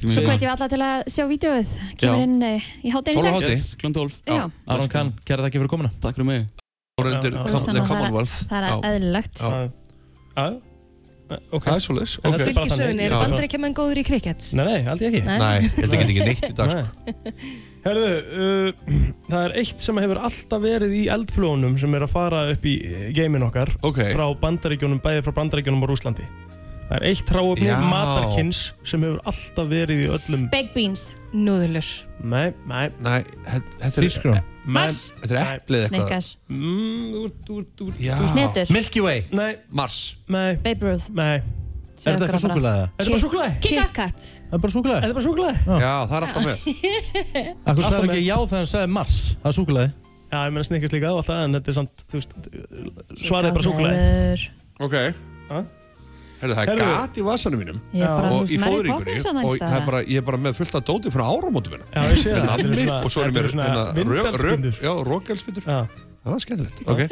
Svo hvetjum við alla til að sjá vídeoið Kemur
Já.
inn eh, í háttegin
Klund 12.
Já.
Aron Kahn, kæra takk fyrir komuna.
Takk fyrir mig.
Ára undir
Já, já. Þú veist það,
Commonwealth.
það er
Já.
eðlilegt.
Já. Það er svolítið. ok.
En þetta er bara þannig.
Fylgisögun, er
Já.
bandaríkjaman góður í krikets?
Nei, nei, aldrei ekki
Nei. Nei, ég held
að geta ekki neitt í dag, sko.
Herðu, uh, það er eitt sem hefur alltaf verið í eldflónum sem er að fara upp í geimin okkar
okay.
frá bandaríkjónum, bæði frá bandaríkjónum og Rúslandi Það er eitt hráöfni
Já.
matarkins sem hefur alltaf verið í öllum
Baked beans
Núðulur
Nei, nei
Nei, þetta er
Hrísgrjón
Mars
Þetta er eplið eitthvað. Snickers. Já. Hnetur.
Milky Way
Nei
Mars
Nei
Babe Ruth
Nei
Er þetta eitthvað súkulega?
Er þetta bara súkulega?
Kit Kat
Það er bara súkulega?
Er þetta bara súkulega?
Já, það er alltaf með
Akkur
Alltaf
sagði
með.
ekki já þegar hann sagði Mars Það er súkulega
Já, ég meina snikkist líka á alltaf en þetta er samt, þú veist, svarið er bara súkulega
Ok Herðu, það er
Heyrðu.
gat í vasanum mínum
Ég er bara, þú
og
veist,
í
Mary
fóðuríkunni
Poppins þarna
og
einhvers
það er
staðar.
bara, ég er bara með fullt af dóti frá áramótum minna
Já, ég sé það. Þetta eru
Nammi
svona-
og svo er
þetta eru
mér
svona
hérna, röp- röp-
vindelsbindur.
Já, rókjálspindur Það var skemmtilegt, ok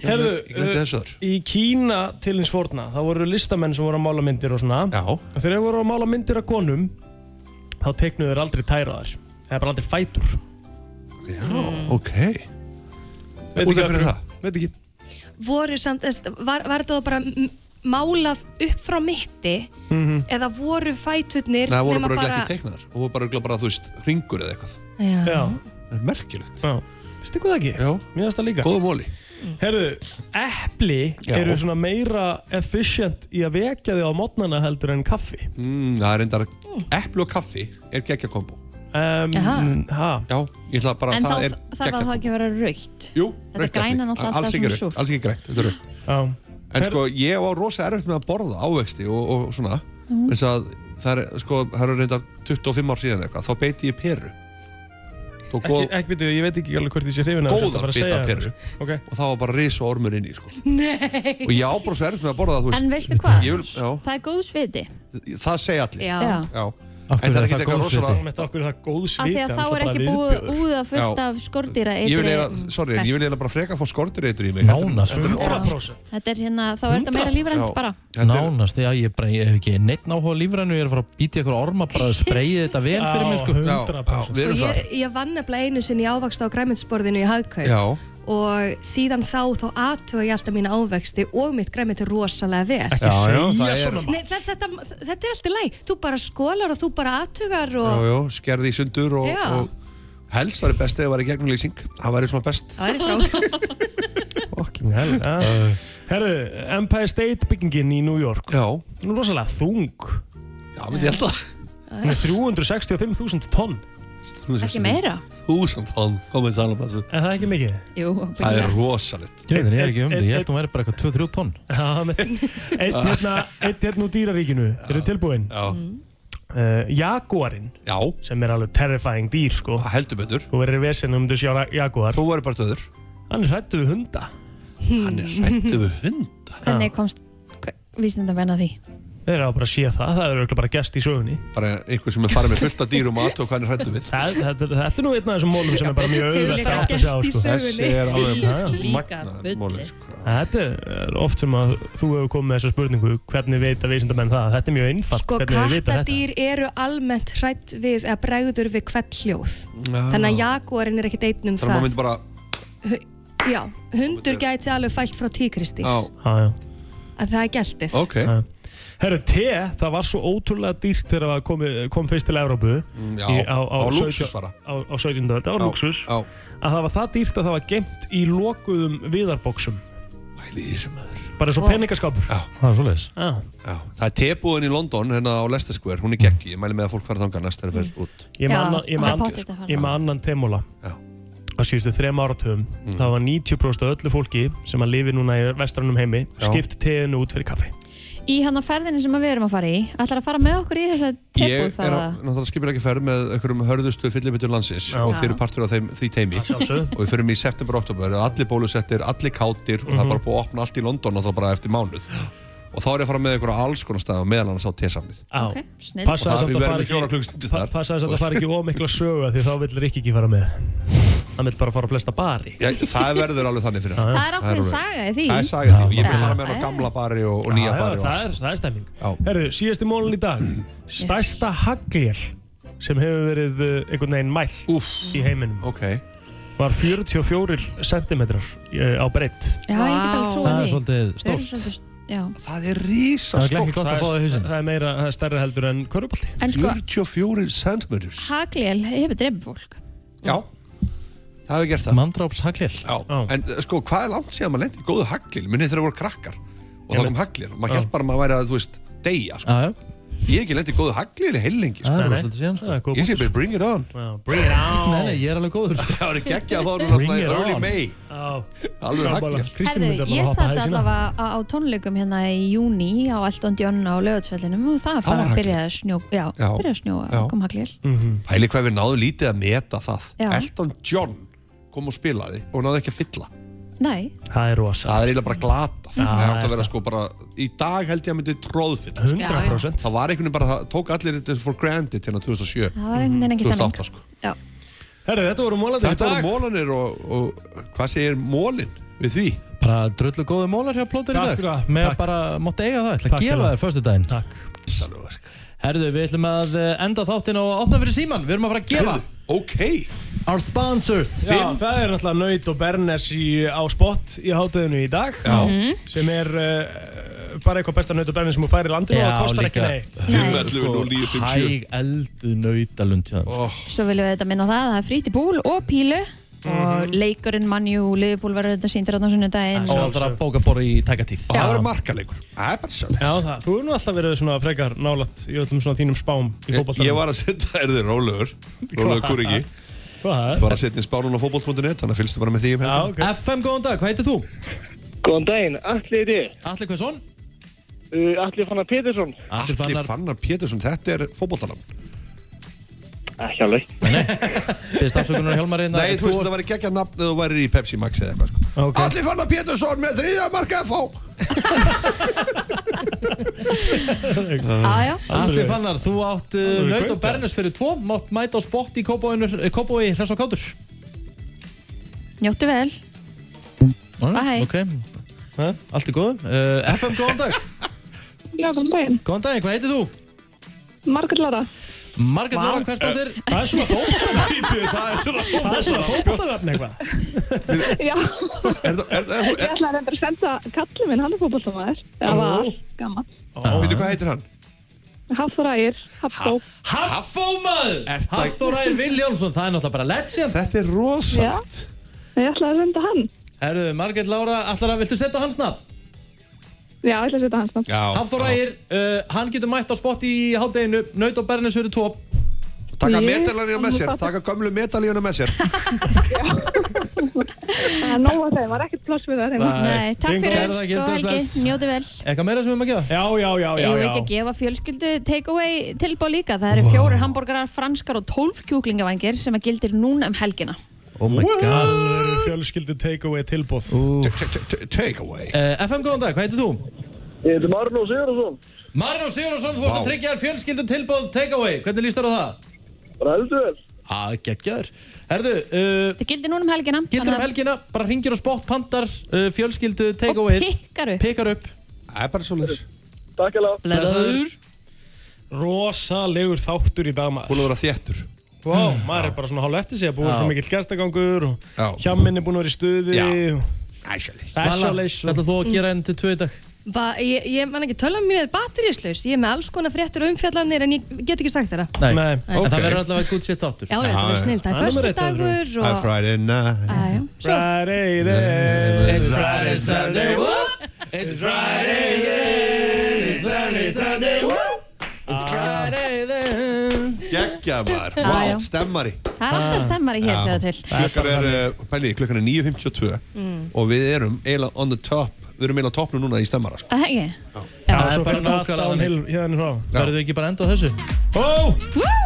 Herðu,
Ég glemti
uh,
þessu þar
í Kína til hins forna, þá voru listamenn sem voru að mála myndir og svona
Já
Og þegar þeir voru að mála myndir af konum, þá teiknuðu þeir aldrei tæraðar Það er bara aldrei fætur
Já, ok Út
Veit
af
ekki
hverju
af
það?
Veit ekki
Voru samt, eðst, var, var þetta þá bara m- málað upp frá mitti
Mhm.
Nei,
eða voru fæturnir
Mhm. það voru
nema
bara örugglega ekki teiknaðar og voru bara, örugglega bara, þú veist, ringur eða eitthvað
Já.
Já.
Það er merkilegt
Já Vistu hvað ekki?
Já
Mér finnst það líka
Góða móli
Herðu, epli
Já.
eru svona meira efficient í að vekja þig á mótnana heldur en kaffi
mm, Það er reyndar, epli og kaffi er geggja kombo
um, ha.
Já, ég ætla bara
En
það
þá
er
þarf að það ekki að vera raukt
Jú,
Þetta
rautt
græna
epli.
náttúrulega
Alls
alltaf
ekki
svona
rautt,
súrt.
Alls ekki grænt, þetta er rautt En sko, ég var rosa erfitt með að borða ávexti og, og svona
Mhm.
eins að það er, sko, það eru reyndar 25 ár síðan eitthvað, þá beiti ég peru Tók
Ekki,
góð,
ekki byrju, ég veit ekki alveg hvort ég sé hrifin af þessu, þetta er
góðan
bara að
bita
segja
af peru
okay.
og það var bara risa ormur inn í, sko
Nei
og ég á bara svo erfitt með að borða það, þú veist
En veistu hvað?
Ég vil, já,
Það er góðs viti
það segja allir
Já. Já.
En það er
er
ekki
það
eitthvað
góðsviti?
rosalega
Þetta okkur er það góðsviti
Af því að þá er ekki búið úða fullt
Já.
af skordýra
Ég vil eiginlega, sorry, en ég vil eiginlega bara freka að fá skortur eitur í mig Nánast
Þetta er hérna, þá er þetta meira lífrænt bara
Nánast, já, ég, bara, ég hef ekki neitt náhuga á lífrænu Ég er að fara að býta ykkur orma bara að spreyja þetta vel fyrir mig sko.
Já, 100%.
Og ég, ég vann nefnilega einu sinni í ávaksta á græmyndsborðinu í Hagkaup
Já.
og síðan þá þá aðtuga ég alltaf mína ávexti og mitt græmyndi rosalega vel
Ekki Já, já, segja það er- svona, mamma.
Nei, þe- þetta, þetta er alltaf læg þú bara skólar og þú bara aðtugar og
Jú, jú, skerði í sundur og,
Já.
og helst var best eða var í gegnum lýsing Það væri svona best
það er frá
Herðu, Empire State byggingin í New York
Já
Nú er rosalega þung
Já, myndi ég held að
Hún er 365.000 tonn
Ekki meira?
Þúsund tonn komið í salamplassið
En það er ekki mikið
Jú,
Það er rosalegt
Ég veit ekki um þetta, ég held
hún
væri bara eitthvað 2-3 tonn
Eitt hérna, eitt hérna úr dýraríkinu Eru tilbúin?
Já
Mm.
uh, Jaguarinn
Já
Sem er alveg terrifying dýr sko
Heldur betur
Þú verður vesinn um þessi ára Jaguar
Þú verður bara döður
Hann er hrættu við hunda
Hann er hrættu við hunda?
Hvernig komst vísnindamenn að því?
Þeir eru að bara sé það, það eru örugglega bara gest í sögunni
Bara einhver sem er farið með fullt af dýrum og aðtók hvað hann er hrættu við
það, þetta, þetta er nú einn af þessum mólum sem er bara mjög auðvelt að átta sig á sko.
Þessi er alveg
Já, já.
magnaður móli sko.
Þetta er oft sem að þú hefur komið með þessa spurningu hvernig veit að vísindamenn það, þetta er mjög einfalt
sko
hvernig þau vita þetta
kattadýr eru almennt hrætt við eða bregður við hvert hljóð
Já.
þannig að jaguarinn er ekkit einn um
Þannig að maður
það
myndi bara
Já, hundur gæti alveg fælt frá tíkristýr
Já.
Já, já.
að það er gæltið
Ja. Herru, te, það var svo ótrúlega dýrt þegar það kom, kom fyrst til Evrópu
Mm, já,
í-
á
sautján-
lúxus bara.
Á, á 17. öld, það var
Já,
luxus Að það var það dýrt að það var gemt í lokuðum viðarbóksum Hæli
í þessu maður
Bara svo
Ó.
peningaskapur
Já,
það er svoleiðis
Já,
Já, það er tebúðin í London, hérna á Leicester Square, hún er geggi, ég mæli með að fólk fara þangað næst þegar það fer út.
Ég
Já,
með annan, ég
og það
með
er
annan,
pottþétt að fara.
ég með annan temóla á síðustu þrem áratöfum mm. það var 90% af öllu fólki sem að lifi núna í vestrannum heimi
Já.
skipt teinu út fyrir kaffi
Í hann á ferðinu sem að við erum að fara í ætlar að fara með okkur í þessa
Ég
tebúð
er
það
á- náttúrulega skipir ekki ferð með einhverjum hörðustu fyllibitjum landsins og þeir eru partur af þeim, því teimi
Að sjálfsögðu.
og við förum í september og oktober, allir bólusettir, allir kátir
Mhm.
og það er bara búið að opna allt í London náttúrulega bara eftir mánuð og þá er ég að fara með einhverja alls konar staða meðal annars á tesamnið
okay,
snillt.
Og
Passaði
það-
samt
við
að
verðum
fara
í fjóra
ekki
klukkustundir
pa-
þar.
Passaði samt að fara ekki of mikla sögu því þá vill Rikki ekki fara með hann vill bara fara á flesta bari
Já, það verður alveg þannig fyrir hann
Það er ákveðin saga í því.
Það er saga í því og ég vil
Já.
fara með hann á gamla bari og, og nýja
Já, já,
bari og sko.
það er- það er stemming Herru, síðasti mólun í dag Stærsta hagljel sem hefur verið uh, einhvern veginn mæl Úf, í heiminum
okay.
var 44 cm eh, á breytt
Já, ég get alveg trúið því. Þau eru
stórt.
svolítið st- Já.
Það er rísa
Það er ekki gott að fá það í hausin Það er meira, það er stærra heldur en körubalti
En sko-
44 cm
Haglél hefur drefn fólk
Já, það hefur gert það
Mandráps haglél
Já, en eh, sko, hvað er langt síðan maður lendi í góðu haglél Minni þegar það voru krakkar Og þá kom haglél og maður held bara að maður væri að, þú veist, deyja sko. Ég hef ekki lendi í góðu haglél í heilengi
Það er
sko.
rosalega síðan, sko.
Það er góð
Ég sé bara bring it on
Bring it on
Nei, nei, ég er alveg góður sko.
Það var ekki að fá núna í early May Alveg haglél
Herðu, ég satt allavega á, á tónleikum hérna í júni á Elton John á lögatsvellinum og það
var
bara
haglél.
byrjaði að snjó Já,
Já.
byrjaði að snjóa,
Já.
kom haglél
Mhm.
Pæli hvað við náðum lítið að meta það
Já.
Elton John kom og spilaði og náði ekki að fylla
Nei,
Það er rosa
Það er eiginlega bara glatað
Já,
Það átt
það
að
er
vera sko bara Í dag held ég að myndi tróðfylla
100%.
Það var einhvern veginn bara, það tók allir þetta for granted hérna 2007
það var einhvern veginn ekki stemning
2008 sko
Já.
Herru, þetta voru mólanir
Þetta voru mólanir og, og hvað segir mólin við því?
Bara drullu góði mólar hjá plótir í
Takk
dag
fyrir það,
Með
takk.
bara, mátti eiga það, ætla
Takk
að
fyrir
gefa
það.
þér förstu daginn
Takk
Herðu, við ætlum að eh, enda þáttinn og opna fyrir síman Við erum að fara að gefa
Ok
Our sponsors
Já, það er náttúrulega Naut og Bernes í, á spott í hátöðinu í dag Já.
Mhm.
sem er uh, bara eitthvað besta Naut og Bernes sem þú fær í landinu og það kostar ekki neitt Sko,
Hæg eldu nautalund hjá þeim, sko.
Svo viljum við þetta minna á það að það er fríti búl og pílu og leikurinn mannjú Liverpool verður þetta síndir á sunnudaginn
Og það þarf að bóka bara í tækatíð
Og það verður markaleikur Það er bara sjálf
Já, það, þú er nú alltaf verið svona frekar nálat í öllum svona þínum spám í
Ég,
fótballtanum
ég var að setja, er þið rólegur Rólegur
Hvað?
kúriki
Ég
var að setja inn spánun á fótbolt.net Þannig að fylgstu bara með því um helgina
FM, góðan dag, hvað heitir þú?
Góðan daginn, Atli er ég.
Atli Hversson?
Uh, Atli Fannar Pétursson.
Atli Fannar, Fannar Pétursson, þetta er fótboltanam
Ekki alveg
Byrst afsökunar hjálmar hérna
Nei, þú veist, það væri geggja nafn eða þú væri í Pepsi Max eða eitthvað sko.
okay.
Atli Fannar Pétursson með þriðja marka FH
Aðjá
Atli Fannar, þú átt uh,
Alveg
naut
kvöld,
og bernes fyrir tvo Mátt mæta á spott í Kópói Hress og Kátur
Njóttu vel Bæ, hei.
Ok, allt er góð uh, FM, góðan dag
Já, góðan daginn.
Góðan dag, hvað heitir þú?
Margrét Lara.
Margrét
Vá.
Lára Hversdóttir
Eh, Það er svona fótboltanafn
Það er svona
Það er svona fótboltanafn eitthvað
Já, ég ætla að reynda að senda kallið minn, hann er fótbollsamaður. Það var gaman.
Veitu hvað heitir hann?
Hafþór Ægir, Hafþó.
Hafþó maður Hafþór Ægir Viljámsson, það er náttúrulega bara legend
Þetta er rosalegt
Ég ætla að reynda hann.
Herru, Margrét Lára, allar að viltu setja hans nafn?
Já, ég ætla að setja sko. hans nafn.
Hafþór Ægir, uh, hann getur mætt á spott í hádeginu Naut og bernes fyrir tvo
Taka
Ég-
medalíuna með sér, taka gömlu medalíuna með sér
Það er nóg að þeim, var ekkert pláss við það heima.
Nei, takk fyrir,
Kæra þakkir,
góða helgi,
bless.
njóttu vel
Eitthvað meira sem við erum að gefa?
Já, já, já,
Ég vil ekki að gefa fjölskyldu takeaway tilbúið líka. Það eru fjórir hambúrgarar, franskar og tólf kjúklingavangir sem að gildir núna um helgina.
Oh my god
Fjölskyldu takeaway tilbúð
Takeaway
uh, FM, góðan dag, hvað heitir þú?
Ég heiti Marno Sigurðarsson.
Marjón Sigurðarsson, þú vorst
Vá.
að tryggja þér fjölskyldu tilbúð takeaway Hvernig líst þér á það?
Bara heldur vel.
Að geggjaður Herðu, uh,
Það gildir núna um helgina.
gildur um helgina, bara ringir og spott pandar uh, fjölskyldu takeaway
Pikkar upp.
Pikkar upp
Það er bara svolítið
Takk alveg.
Blessaður.
Rosalegur þáttur í dag maður
Búin að vera þéttur
Vá, maður er bara svona hálf eftir sig að búið
Já.
svo mikill gestagangur og
Já.
hjamminn er búin að vera í stuði
Já.
og
Æsjali
Ætla þú að gera enn til tvö í dag?
Ba, ég, ég man ekki, tölvan mín er batteríslaus Ég er með alls konar fréttir og umfjallanir En ég get ekki sagt þeirra
Nei,
Nei.
En það verður allavega good shit þáttur
Já, já, þetta verður snillt. Það er
Hann númer eitt,
föstudagur
Öðru.
og-
Ah.
Það er Friday night
Æja, svo
Friday day
It's
Friday,
Saturday,
whoop.
It's
Friday then It's Saturday, Sunday whoop. It's Friday then
Gekkja maður,
Já, Ah, já.
vá, stemmari
Það er alltaf stemmari hér, segðu til.
Klukkan er, uh, pæli, klukkan er 9.52
Mm.
og við erum eiginlega on the top við erum eiginlega á topnum núna í stemmara sko.
Það hegi
Það er bara nákvæmlega þannig
Hérna frá
Verður við ekki bara að enda á þessu?
Ó!